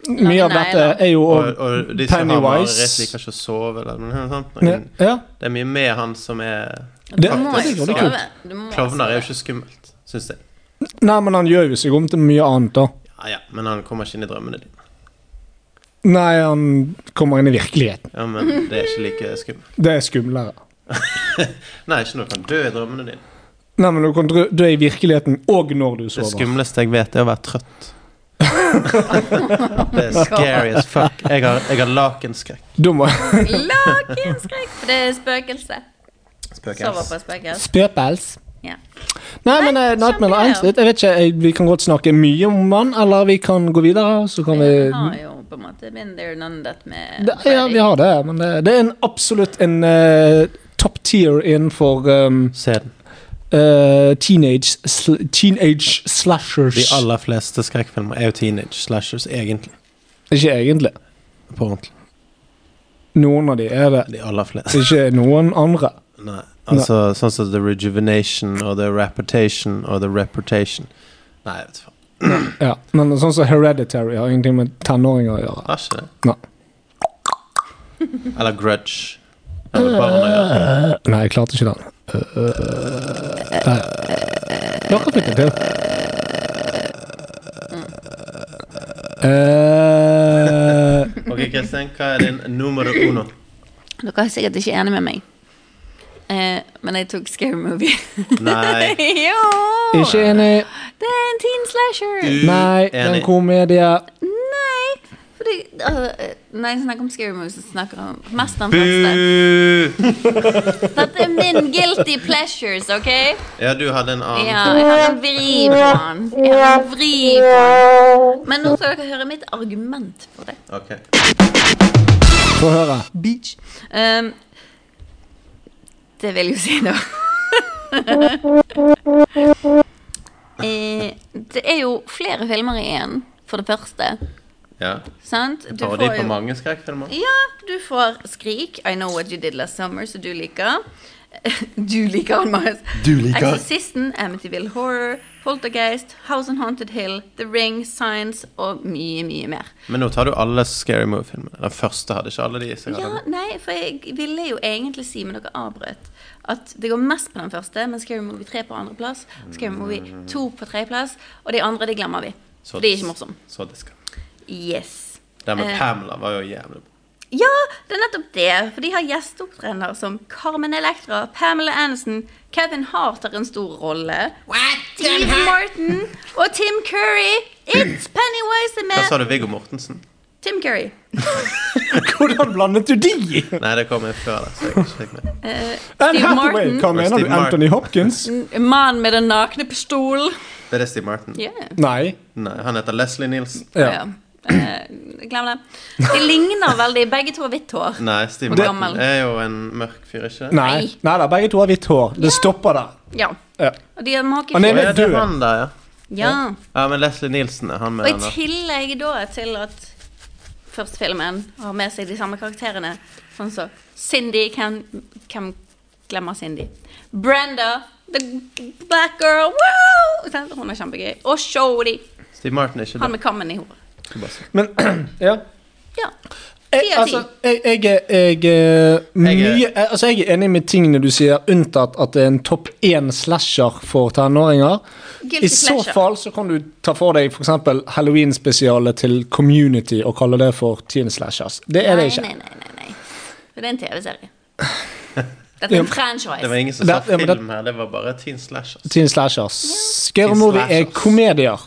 Mye av Nei, nei, dette er jo Og, og de som har Pennywise. mareritt, liker ikke å sove. Eller, noe sånt. Ja, ja. Det er mye med han som er Det- Du må det er jo veldig sove. Du må Klovner er jo sove. ikke skummelt, syns jeg. Nei, men han gjør jo seg om til mye annet, da. Ja, ja, men han kommer ikke inn i drømmene dine. Nei, han kommer inn i virkeligheten. Ja, men det er ikke like skummelt. Det er skumlere. Nei, ikke når du kan dø i drømmene dine. Nei, men du, kan, dr- du er i virkeligheten og når du Det sover. skumleste jeg vet, er å være trøtt. det er scary as fuck. Jeg har, jeg har lakenskrekk. Du må Lakenskrekk! For det er spøkelse. Spøk, Sover Else. på spøkelse. Spøpels. Ja. Nei, men eh, Nightmare on Elm Street Jeg vet ikke, jeg, Vi kan godt snakke mye om han, eller vi kan gå videre. Så kan vi Jeg har jo på en måte been there, none that med Det, ja, vi har det, men eh, det, det er en, absolutt en eh, top tier innenfor um, Se den. eh, teenage, sl teenage slashers. De aller fleste skrekkfilmer er jo teenage slashers, egentlig. Ikke egentlig. På ordentlig. Noen av de er det. De aller fleste. Ikke noen andre. Nei. Altså sånn som The Rejuvenation og The Reputation og The Reputation. Nei, jeg vet faen. Ja, Men sånn som Hereditary har ingenting med tenåringer å gjøre. Har ikke det. Nei. Eller grudge. Eller barna, ja. Nei, jeg klarte ikke den. Uh, uh, uh, uh, til. Eh, Ok, Kristian, hva er din nummer uno? Dere er sikkert ikke enige med meg. Eh, men jeg tok Scary Movie. Nei. jo! ikke enig. Det er en teen slasher! Nei, det er en komedie. Nei! Fordi, øh, når jeg snakker om Scary Movie, så snakker jeg om mest den første. Buh! Dette er min guilty pleasures, OK? Ja, du hadde en annen. Ja, jeg har en vri på den. Jeg har en vri på den. Men nå skal dere høre mitt argument for det. Ok. Få høre. Beach. Ehm, det vil jo si da. eh, det er jo flere filmer igjen, for det første. Ja. Sant? Du Parodi får på jo- mange skrekkfilmer. Ja, du får Skrik, I Know What You Did Last Summer, som du liker. Du liker han, Marius. Du liker. Exorcisten, Amityville Horror, Poltergeist, House on Haunted Hill, The Ring, Signs og mye, mye mer. Men nå tar du alle Scary Movie-filmene. Den første hadde ikke alle de. så jeg hadde Ja, den. nei, for jeg ville jo egentlig si, men dere avbrøt, at det går mest på den første, men Scary Movie 3 på andreplass, Scary Movie 2 på tredjeplass, og de andre, de glemmer vi. Så- For de er ikke morsomme. Så det skal. Yes. Den med Eh. Pamela var jo jævlig bra. Ja, det er nettopp det, for de har gjesteopptredener som Carmen Electra, Pamela Anderson, Kevin Hart har en stor rolle, Steve Martin og Tim Curry. It's Pennywise er Hva sa med. du, Viggo Mortensen? Tim Curry. Hvordan blandet du de? Nei, det kom jeg før. Da, så jeg ikke fikk med. Anne Hathaway. Martin. Hva Og mener Steve du? Anthony Hopkins? Mannen med den nakne pistolen. Det er det Steve Martin. Yeah. Nei. Nei, han heter Leslie Nielsen. Ja. Ja. Eh, glem det. De ligner veldig. Begge to har hvitt hår. Nei, Steve Og Martin gammel. er jo en mørk fyr, ikke det? Nei. Nei da, begge to har hvitt hår. Det stopper der. Mm. Ja. Ja. Og de har Han Å, er makefilm. ja, det er død. han der, ja. Ja. Ja, men Leslie Nielsen er han Og med i den der. tillegg da til at første filmen har med seg de samme karakterene, sånn som Cindy Hvem hvem glemmer Cindy? Brenda, the black girl, wow! Sant? Hun er kjempegøy. Og Shody, Steve Martin er ikke han død. med kammen i håret. Men ja. Ja. Jeg, Ti av ti. altså, jeg, jeg, er- jeg, er er- mye, jeg, altså, jeg er enig med tingene du sier, unntatt at det er en topp én slasher for tenåringer. Guilty I så pleasure. fall så kan du ta for deg f.eks. Halloween-spesialet til Community og kalle det for teen slashers. Det er det ikke. Nei, nei, nei, nei. For det er en TV-serie. Dette er en Det franchise. var ingen som sa Det- ja, men det- film her, det var bare teen altså. slashers. Teen slashers. Scary Teen movie er slashers. komedier.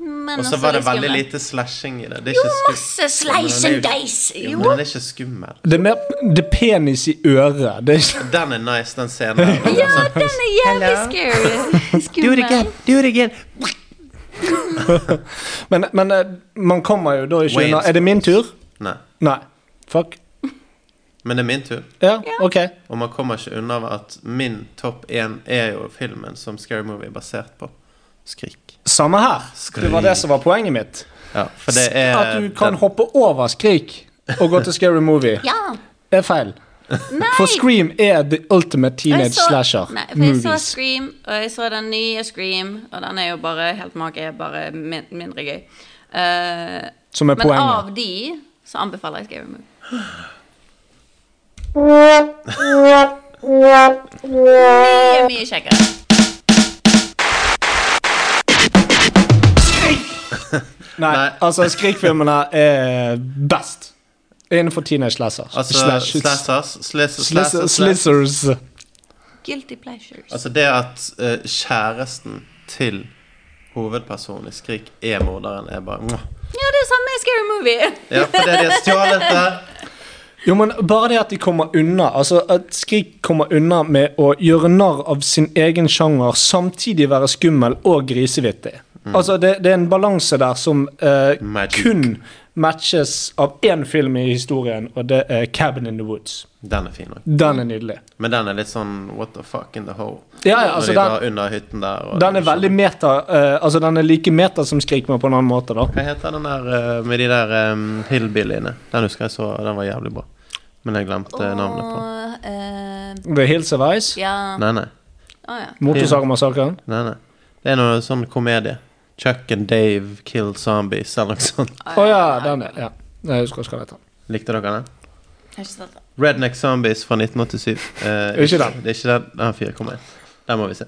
Men altså, Og så også var det litt veldig skummelt. lite slashing i det. Det er Jo, ikke skum- masse slice Men and den er jo- dice. Jo, Jo. men den er ikke skummel. Det er mer det er penis i øret. Det er ikke Den er nice, den scenen. der. Ja, den er jævlig scary. Skummel. do it again. Men, men eh, man kommer jo da ikke Wayne's unna. Er det min tur? Nei, Nei. Fuck. men det er min tur. Ja, Ja. OK. Og man kommer ikke unna at min topp én er jo filmen som Scary Movie er basert på. Skrik. Samme her. Det var det som var poenget mitt. Ja, for det er At du kan den- hoppe over Skrik og gå til Scary Movie. Ja. Det er feil. Nei. For Scream er the ultimate Og teenage jeg så- slasher Nei, for jeg så movies. Scream, og jeg så den nye Scream, og den er jo bare helt mage, bare min, mindre gøy. Eh, Som er men poenget. av de så anbefaler jeg Scary Movie. Mye, mye kjekkere. Nei, Nei. altså Skrik-filmene er best innenfor teenage slasher. Altså, Slash- slashers, slashers, Sliss- slashers, Slissers. Guilty pleasures. Altså det at eh, kjæresten til hovedpersonen i Skrik er morderen, er bare mwah. Ja, det er samme i Scary Movie. Ja, for det de har stjålet der. Jo, men Bare det at de kommer unna Altså at Skrik kommer unna med å gjøre narr av sin egen sjanger, samtidig være skummel og grisevittig. Altså, det, det er en balanse der som eh, Magic. kun matches av én film i historien, og det er 'Cabin in the Woods'. Den er fin òg. Den er nydelig. Men den er litt sånn what the fuck in the hole. Ja, ja, Når de altså den- var under hytten der. og- Den er veldig meta, eh, altså den er like meta som 'Skrik', men på en annen måte, da. Hva heter den der eh, med de der um, hillbillyene? Den husker jeg så, den var jævlig bra. Men jeg glemte navnet på den. Og, eh, The Hills of Ice, ja. Nei, nei. Å, ja. Motorsagmassakren. nei, nei. Det er noe sånn komedie. Chuck and Dave kill zombies eller noe sånt. Å ja, den er ja. Jeg husker ikke hva den heter. Likte dere den? Har ikke sett det. Redneck Zombies fra 1987. Eh, Ikke den. Det er ikke den. Den har 4,1. Den må vi se.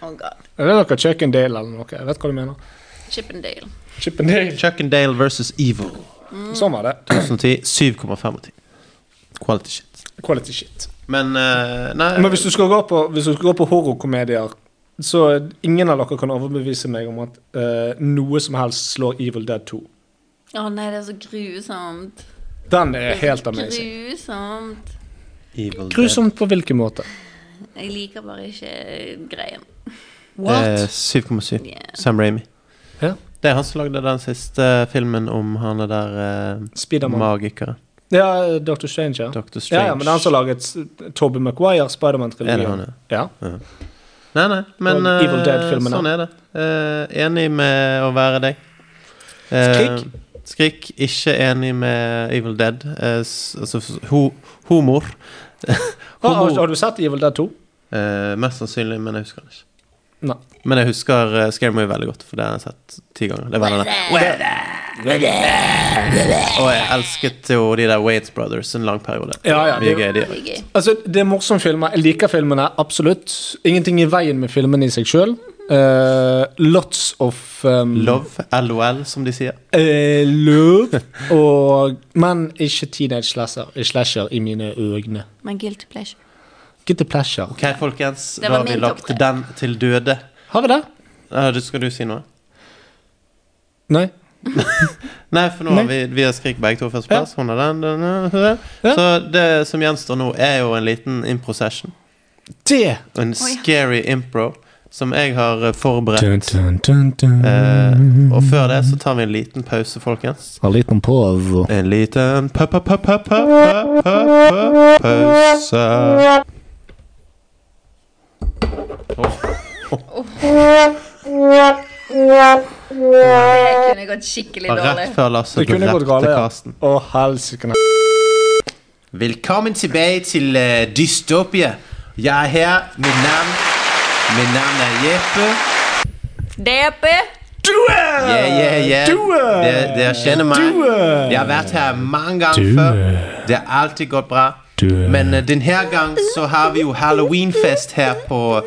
Oh god. Er det noe Chuckendale eller noe? Jeg vet hva du mener. Chippendale. Chippendale. Chuck and Dale versus Evil. Sånn var det. 2010. 7,5 av 10. Quality shit. Quality shit. Men eh, Nei. Men hvis du skal gå på, hvis du skal gå på horrorkomedier, så ingen av dere kan overbevise meg om at eh, noe som helst slår Evil Dead 2. Å nei, det er så grusomt. Den Mm. er helt amazing. grusomt. Evil Dead. Grusomt på hvilken måte? Jeg liker bare ikke eh, greien. Eh, Det er 7,7. Yeah. Sam Ramy. Ja. Det er han som lagde den siste eh, filmen om han er der eh, Spiderman. magikeren. Ja, Dr. Strange, ja. Dr. Strange. Ja, ja, men han som laget Tobey Maguire, Er Spiderman-trilogien. det han, ja? Ja. Nei, nei, men Og Evil eh, Dead-filmene. sånn er det. Eh, enig med å være deg. Eh, Skrik? skrik. Ikke enig med Evil Dead. Eh, s altså f- ho humor. Har, har, humor. har du sett Evil Dead 2? Eh, mest sannsynlig, men jeg husker den ikke. Nei. Men jeg husker uh, Scary Movie veldig godt, for det har jeg sett ti ganger. Det var denne. Og jeg elsket jo de der Waits Brothers en lang periode. Ja, ja, Mye det- gøy, de. Det er gøy. Altså, det er morsomme filmer. Jeg liker filmene, absolutt. Ingenting i veien med filmene i seg sjøl. lots of um, Love, LOL, som de sier. eh, love. Og, men ikke teenage slasher, slasher i mine øyne. Men guilty pleasure. Get the pleasure. Ok, folkens, Det da var har vi min lagt topp tre. den til døde. Har vi det? Eh, du- skal du si noe? Nei. Nei, for nå har vi, vi har Skrik begge to førsteplass. Hun har den, den, den, den. Ja. Så det som gjenstår nå, er jo en liten impro-session. Det En Oi. scary impro som jeg har eh, forberedt. Dun, dun, dun, dun. Eh, og før det så tar vi en liten pause, folkens. En liten pause. En liten pa- pa- pa- pa- pa- pa- pa- pause. Det kunne gått skikkelig dårlig. Rett før Lasse Det ble kunne gått drept galt, til ja. Karsten. Å, helsike. Velkommen tilbake til eh, Dystopia. Jeg er her. Mitt navn, mitt navn er Jeppe. DP. Yeah, yeah, yeah. Dere, dere kjenner meg. Jeg har vært her mange ganger før. Det har alltid gått bra. Du- Men eh, denne gang så har vi jo halloweenfest her på,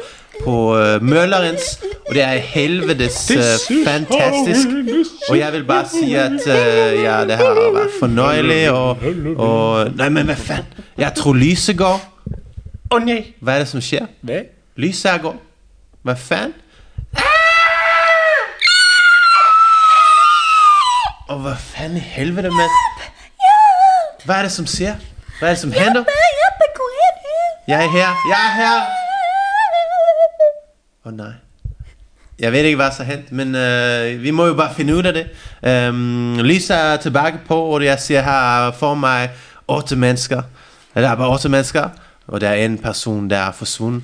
på eh, Møllerens. Og det er helvetes eh, fantastisk. Og jeg vil bare si at eh, ja, det her har vært fornøyelig og, og Nei, men hva faen? Jeg tror lyset går. Å nei! Hva er det som skjer? Det- Lyset er gått. Hva faen? Og hva faen i helvete med Hva er det som skjer? Hva er det som hender? Jeppe, hvor er du? Jeg er her. Jeg er her! Å nei. Jeg vet ikke hva som har hendt, men eh, vi må jo bare finne ut av det. Um, lyset er tilbake på, og jeg ser her for meg åtte mennesker. Det er bare åtte mennesker, og det er en person der er forsvunnet.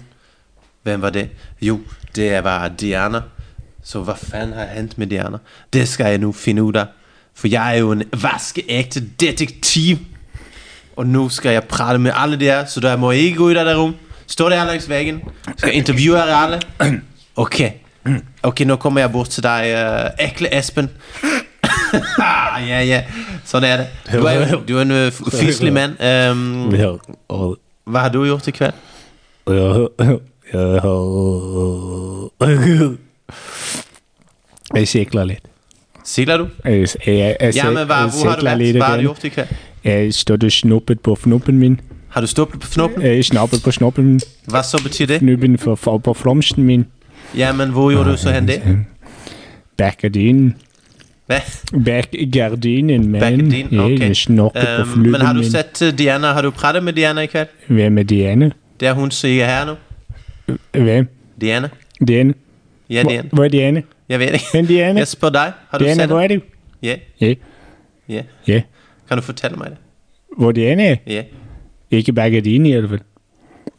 Hvem var det? Jo, det var Diana. Så hva faen har hendt med Diana? Det skal jeg nå finne ut av. For jeg er jo en vaskeekte detektiv. Og nå skal jeg prate med alle de her, så da må jeg ikke gå ut av det rom. Stå der langs veggen. Skal intervjue dere alle. Ok. Ok, nå kommer jeg bort til deg, eh, ekle Espen. Ah, ja, ja. Sånn er det. Du er, jo- du er en eh, f- fyselig mann. Ehm, Jeg har- og- hva har du gjort i kveld? jeg har- Jeg har Jeg sikler litt. Sigler du? Jeg, jeg, jeg, Ja, men hva, jeg hvor har du sikler vært? litt. Hva har du grann. gjort i kveld? Jeg stod og snoppet på fnoppen min. Har du stoppet på fnoppen? Jeg snappet på snoppen min. Hva så betyr det? Fnuppen for, for, på flomsten min. Ja, men hvor gjorde du så hen det? Bak gardinen. Hva? Bak gardinen, men Back din? Ok. jeg snoppet på Ehm, men har fnuppen du min. sett eh, Diana? Har du pratet med Diana i kveld? Hvem er Diane? Det er hun som ikke er her nå. Hvem? Diana. Diane? Ja, Diana. Hvor er Diane? Jeg vet ikke. Hvem Diane? Jeg spør deg. Har du Diane, sett hvor det? er du? Ja, Ja, ja. ja. Kan du fortelle meg det? Hvor Diane er? Ja. Ikke bak gardinen i alle fall.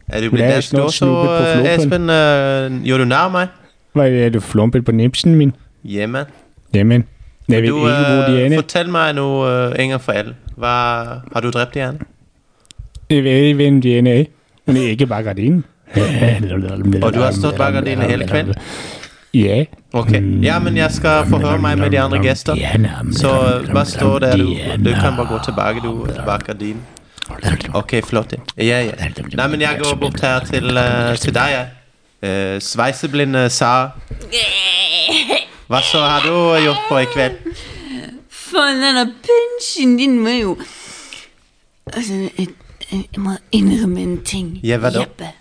Er du Men blitt jeg er dansk snart nå, så snobbet på eh, flopen. Espen, eh, gjør du nær meg? Hva er du flompet på nipsen min? Ja, mann. Jamen, jeg Du, ved ikke, hvor eh, Diane er. fortell meg nå, eh, Inger Forell. Hva, har du drept Diana? Jeg ved ikke, hvem Diane er. Hun er ikke bak gardinen. Og du har stått bak gardinen hele kvelden? Ja. Ok. Ja, men jeg skal forhøre meg med de andre gjester. Diana, Så eh, bare stå der, du. Du kan bare gå tilbake, du, bak gardinen. OK, flott. Jeg, nei, men jeg går bort her til, eh, til deg, jeg. Eh, sveiseblinde sa Hva så har du øh, gjort på i kveld? Faen, denne punsjen din var jo Altså, jeg, jeg jeg må innrømme en ting. Ja, hva da? Jeppe.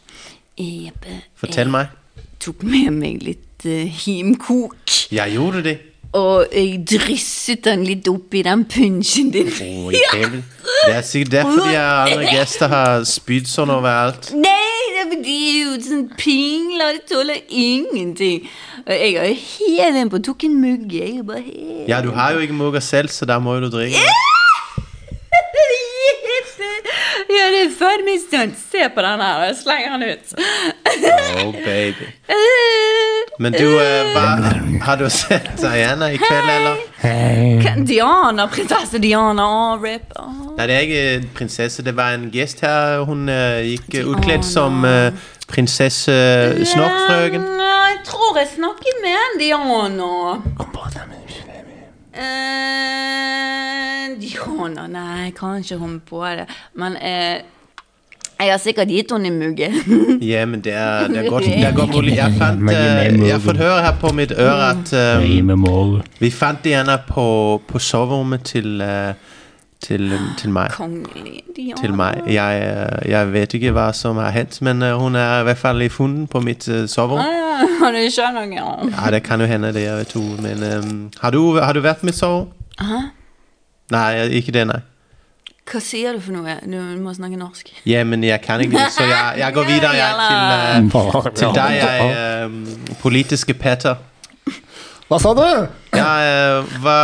Eh, Jeppe. Fortell meg. Jeg tok med meg litt eh, himkok, Jeg gjorde det. og jeg drysset den litt oppi den punsjen din. Å, i kveld. Det er sikkert derfor de andre gjester har spydd sånn overalt. Nei, det er fordi jeg er jo sånn pingler, det tåler ingenting. Og jeg har jo helt en på, tok en mugg, jeg er bare helt Ja, du har jo ikke mugga selv, så der må jo du drikke. Jeppe! Ja, det er faen meg sånn. Se på den her, og jeg slenger den ut. Oh, baby. Men du, eh, hva, har du sett Diana i kveld, eller? Kan Diana, prinsesse Diana Arip. Nei, det er ikke prinsesse. Det var en gjest her. Hun eh, gikk eh, utkledd som eh, prinsesse eh, Snorkfrøken. Jeg tror jeg snakket med en Diana. Eh, Diana, nei, jeg kan ikke komme på det. Men eh, jeg har sikkert gitt henne en mugge. Ja, men det er, det er godt. Det er godt mulig. Jeg fant eh, Jeg har fått høre her på mitt øre at eh, vi fant Diana på, på soverommet til, eh, til, til meg. Kongelig Diana. Til meg. Jeg, eh, jeg vet ikke hva som har hendt, men eh, hun er i hvert fall i funden på mitt eh, soverom. Ah, du skjønner ikke om. Ja, det kan jo hende, det. Jeg vet jo, men ehm, har, du, har du vært med Sorrow? Nei, ikke det, nei. Hva sier du for noe? Du må snakke norsk. Ja, men jeg kan ikke det, så jeg, jeg går videre jeg, til, eh, til deg, jeg, ehm, politiske Petter. Hva sa du? Ja, eh, hva,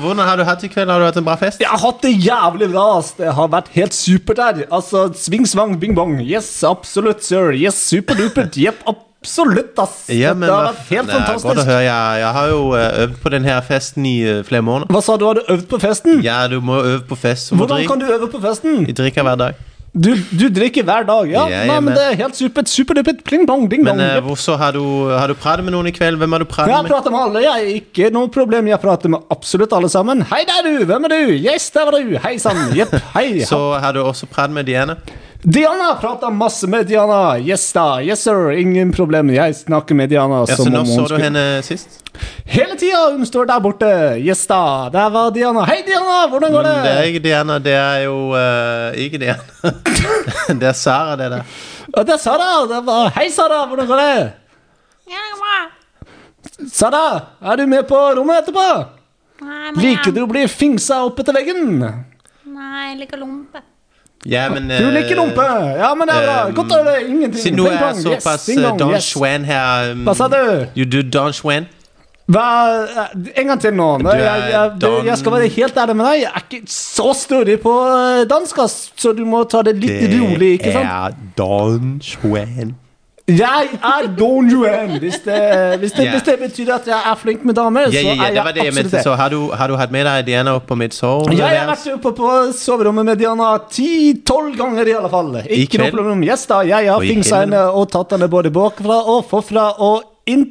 hvordan har du hatt i kveld? Har du hatt en bra fest? Jeg har hatt det jævlig bra. ass. Det har vært helt supert her. Altså, Sving, svang, bing, bong. Yes, absolutt, sir. Yes, superdupert. Jepp, absolutt, ass. Ja, men det har hva vært faen, helt det er Godt å fantastisk. høre. Jeg, jeg har jo eh, øvd på denne festen i eh, flere måneder. Hva sa du, har du øvd på festen? Ja, du må øve på fest. så må Hvordan drikke. kan du øve på festen? Jeg drikker hver dag. Du, du drikker hver dag, ja? Ja, Nei, jamen. men det er helt supert. Superdupert. Pling, bong, ding, Men bong. eh, Jepp. hvor så har du, har du pratet med noen i kveld? Hvem har du pratet Jeg med? prater med alle, jeg. Ikke noe problem. Jeg prater med absolutt alle sammen. Hei der, du. Hvem er du? Yes, der var du. Hei sann. Jepp. Hei. Så har du også pratet med Diana? Diana! Prata masse med Diana. Yes da. Yes sir. Ingen problem. Jeg snakker med Diana. Ja, så som om når hun så du skulle- henne sist? Hele tida! Hun står der borte. Yes da. Der var Diana. Hei, Diana! Hvordan går Men det? det er ikke Diana, det er jo eh, ikke Diana. det er Sara, det der. Og det er Sara. Det var... Hei, Sara. Hvordan går det? Sara, er du med på rommet etterpå? Liker du å bli fingsa opp etter veggen? Nei, jeg liker lompe. Ja, men Du eh, liker lompe. Ja, men det er bra. eh, Godt å høre. Ingenting. Siden du Ping er pong. Yes, såpass ding eh, dong. Don Yes. Schwan her um, Hva sa du? You do Don Schwan? Hva, eh, en gang til nå. nå Du er jeg, jeg, du, dan- jeg skal være helt ærlig med deg. Jeg er ikke så stødig på eh, dansk, ass, så du må ta det litt rolig. ikke sant? er Don Schwan. Jeg er Don Juan! Hvis det, hvis, det, Ja. hvis det betyr at jeg er flink med damer, Ja, ja, ja, det var så er det jeg jeg absolutt mente. det. Så har du, har du hatt med deg Diana opp på mitt sår? Ja, jeg har vært oppe på soverommet med Diana ti-tolv ganger i alle fall. Ikke noe kveld? problem. Yes da, jeg har Og i fingsa kveld? henne og tatt henne både bakfra og forfra og inn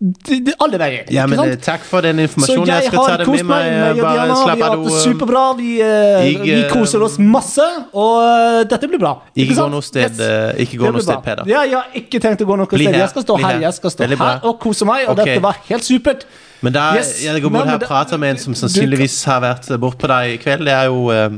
d- d- alle veier. Ja, men ikke eh, sant? takk for den Så informasjonen. jeg Jeg skal ta har det kost med meg meg. med eh, Bare Diana. Vi slapp av, har hatt du. det eh, superbra. Vi, eh, jeg, vi koser oss masse, og eh, dette blir bra. Ikke gå sant? noe sted, Yes. eh, ikke gå Det noe blir sted, bra. Peder. Ja, jeg har ikke tenkt å gå noe Bli sted. her. Jeg skal stå Bli her, her. jeg skal stå Veldig bra. her og kose meg, og Ok. dette var helt supert. Men da, Yes. jeg går Nei, bort her men og det- prater med en som du- sannsynligvis har vært bort på deg i kveld. Det er jo eh,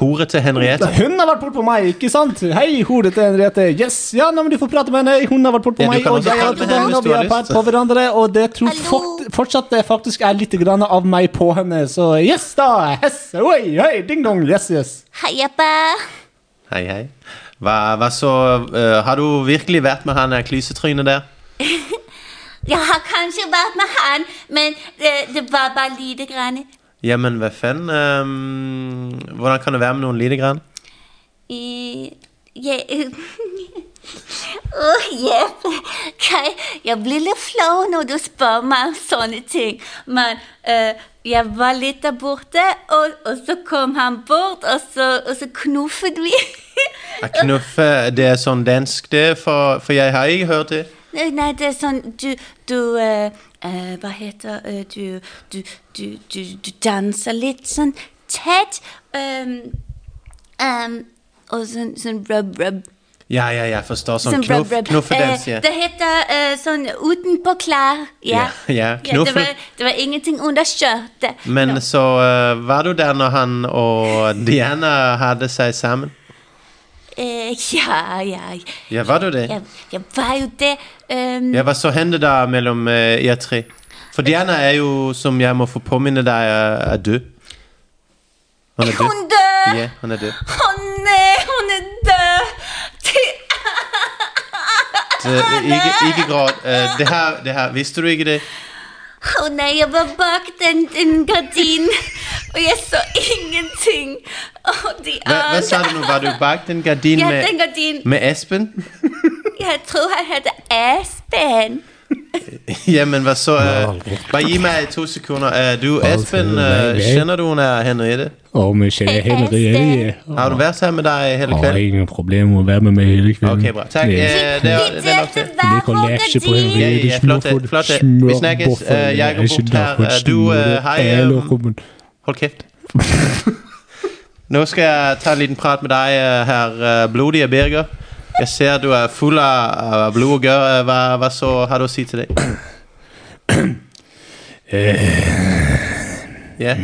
hore til Henriette. Hun har vært bort på meg, ikke sant? Hei, hodet til Henriette. Yes, ja, nei, men du får prate med henne. Hun har vært bort på Ja, du meg, kan og også jeg har prate vært med på henne henne, hvis og du vi har har pært lyst. på hverandre, og det tror Hallo. fort, fortsatt det faktisk er litt grann av meg på henne. Så yes da, yes, oi, oi, ding dong, yes, yes. Hei, Jeppe. Hei, hei. Hva, hva så eh, Har du virkelig vært med han der klysetrynet der? Jeg har kanskje vært med han, men det, det var bare lite grann. Ja, men hva faen? eh, hvordan kan det være med noen lite grann? I- Jeg Åh, Jeppe. Kai, jeg blir litt flau når du spør meg om sånne ting. Men eh, jeg var litt der borte, og, og så kom han bort, og så, og så knuffet vi. Jeg knuffer, det er sånn dansk, det, for, for jeg har ikke hørt det. Nei, nei, det er sånn Du, du eh, eh, Hva heter eh, du, du, du, du, du danser litt sånn tett. Um, um, ehm, og sånn, sånn rub, rub. Ja, ja, jeg forstår. Sånn Sånn knuff, rub, rub. knuffedans. Eh, Ja. det heter eh, sånn utenpå klær. Ja, Ja. ja, det, knuffel. var, det var ingenting under skjørtet. Men så eh, var du der når han og Diana hadde seg sammen? Eh, ja, ja. Ja, var du det? Jeg, jeg var jo det. ehm, Ja, hva så hender da mellom eh, jer tre? For Diana er jo, som jeg må få påminne deg, eh, er død. Hun er Hun død. dør! Ja, hun er død. Hun er, hun er død! Til- Så, eh, ikke, ikke gråt. Eh, det her, det her, visste du ikke det? Å nei, jeg var bak den, den gardinen, og jeg så ingenting. Å, de Hva, hva sa andre du nå? Var du bak den gardinen Ja, med, den gardinen. med Espen? Jeg tror han heter Espen. Ja, men hva så? eh, bare gi meg to sekunder. Eh, du, Espen, eh, kjenner du hun er Henriette? Om ikke det er Henriette Har hun vært her med deg hele Har kvelden? ingen problem med å være med meg hele kvelden. Ok, bra. Takk. Det- Eh, det, er- Vi det er nok delte det. hver Ligg og vår lek ikke på gardin. Ja, ja, Henriette. flott det, flott det. Vi snakkes. Eh, jeg går bort her. Eh, du, eh, hei, eh, Hold kjeft. Nå skal jeg ta en liten prat med deg, eh, herr eh, blodige Birger. Jeg ser du er full av av blod og gørr. Eh, Hva, hva så har du å si til deg? Øh, Ja,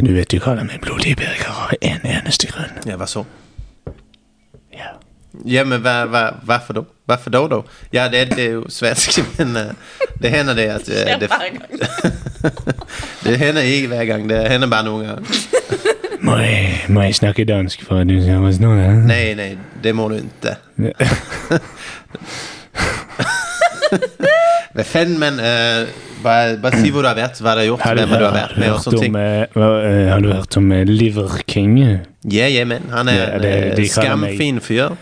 Du vet du kaller meg blodig Birger av en eneste grunn. ja hva så? Ja. Ja, men hva, hva, hvorfor da? Hvorfor da, da? Ja, det, det er jo svensk, men eh, det hender det at eh, Det, det hender ikke hver gang. Det hender bare noen ganger. Må jeg, må jeg snakke dansk for at du skal forstå det? Nei, nei, det må du ikke. Hva faen, men eh, bare, bare si hvor du har vært, hva du har gjort, Har du hvem du har hørt, vært med, og hørt sånne om, ting. eh, hva, eh, har du hørt om eh, Liver King? Ja, ja, men han Ja, er en det- eh, de kaller meg- skamfin fyr.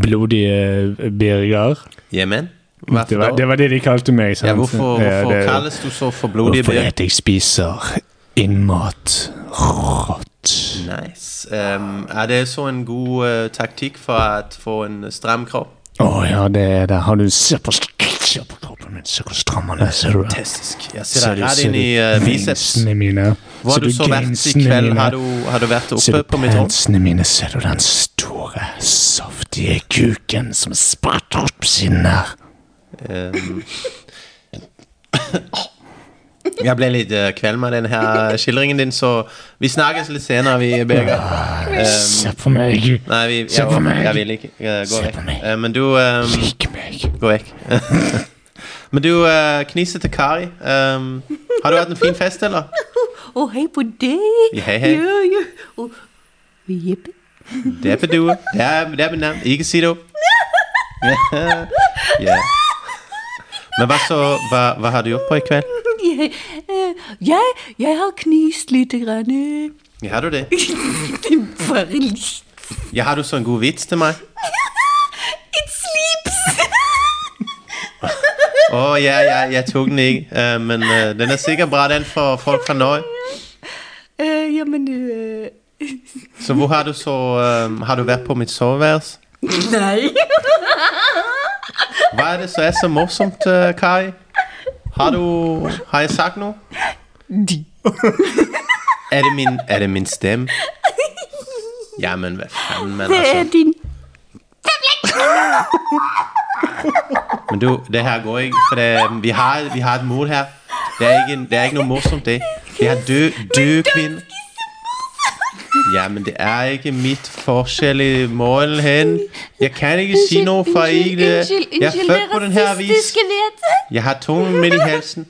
Blodige Birger? Ja, men Det hvorfor var, det da? var det de kalte meg. sant? Ja, hvorfor, Ja, hvorfor det- kalles du så for blodig Hvorfor bjørn? at jeg spiser innmat rått? Nice. Ehm, er det så en god eh, taktikk for å få en stram kropp? Å ja, det er det. Har du Se på, se på kroppen min, se hvor stram den er. Ser du det? Fantastisk. Jeg Ser ser du- deg rett ser inn du i eh, biceps. gainsene mine? Hvor har Ser du så vært i gainsene kveld? mine? Har du, har du vært Ser oppe du på mitt rom? pantsene mine? Ser du den store, saftige kuken som spretter opp siden her? Ehm. Jeg ble litt eh, kvelm av den her skildringen din, så vi snakkes litt senere, vi, Birger. se på meg. Nei, vi, Se jeg, på meg. jeg vil ikke. eh, Gå Se vekk. på meg. Eh, Men du ehm, Lik meg. Gå vekk. Men du, uh, knisete Kari, ehm, har du hatt en fin fest, eller? Å, hei på deg. Hei, hei. Ja, ja. Å, jeppe. Det er bedue. Det er, det er mitt navn. Ikke si det opp. Ja. Men hva så hva, hva har du gjort på i kveld? Jeg, eh, jeg, jeg har knist lite grann. eh. Ja, har du det? Bare litt. Ja, har du så en god vits til meg? It sleeps. Å, ja, ja, jeg tok den ikke. Eh, men eh, den er sikkert bra, den for folk fra Norge. Eh, ja, men eh, Så hvor har du så eh, Har du vært på mitt soveværelse? Nei. Hva er det som er så morsomt, eh, Kari? Har du Har jeg sagt noe? Er det min Er det min stemme? Ja, men hva faen, men Det altså. er din Men du, det her går ikke, for det, vi, har, vi har et mål her. Det er ikke, en, det er ikke noe morsomt, det. Vi har død, død kvinne. Ja, men det er ikke mitt forskjell i målen hen. Jeg kan ikke si noe for ikke det. unnskyld, Jeg er unnskyld, født på den det her vis. rasistiske vetet. Jeg har tungen midt i halsen.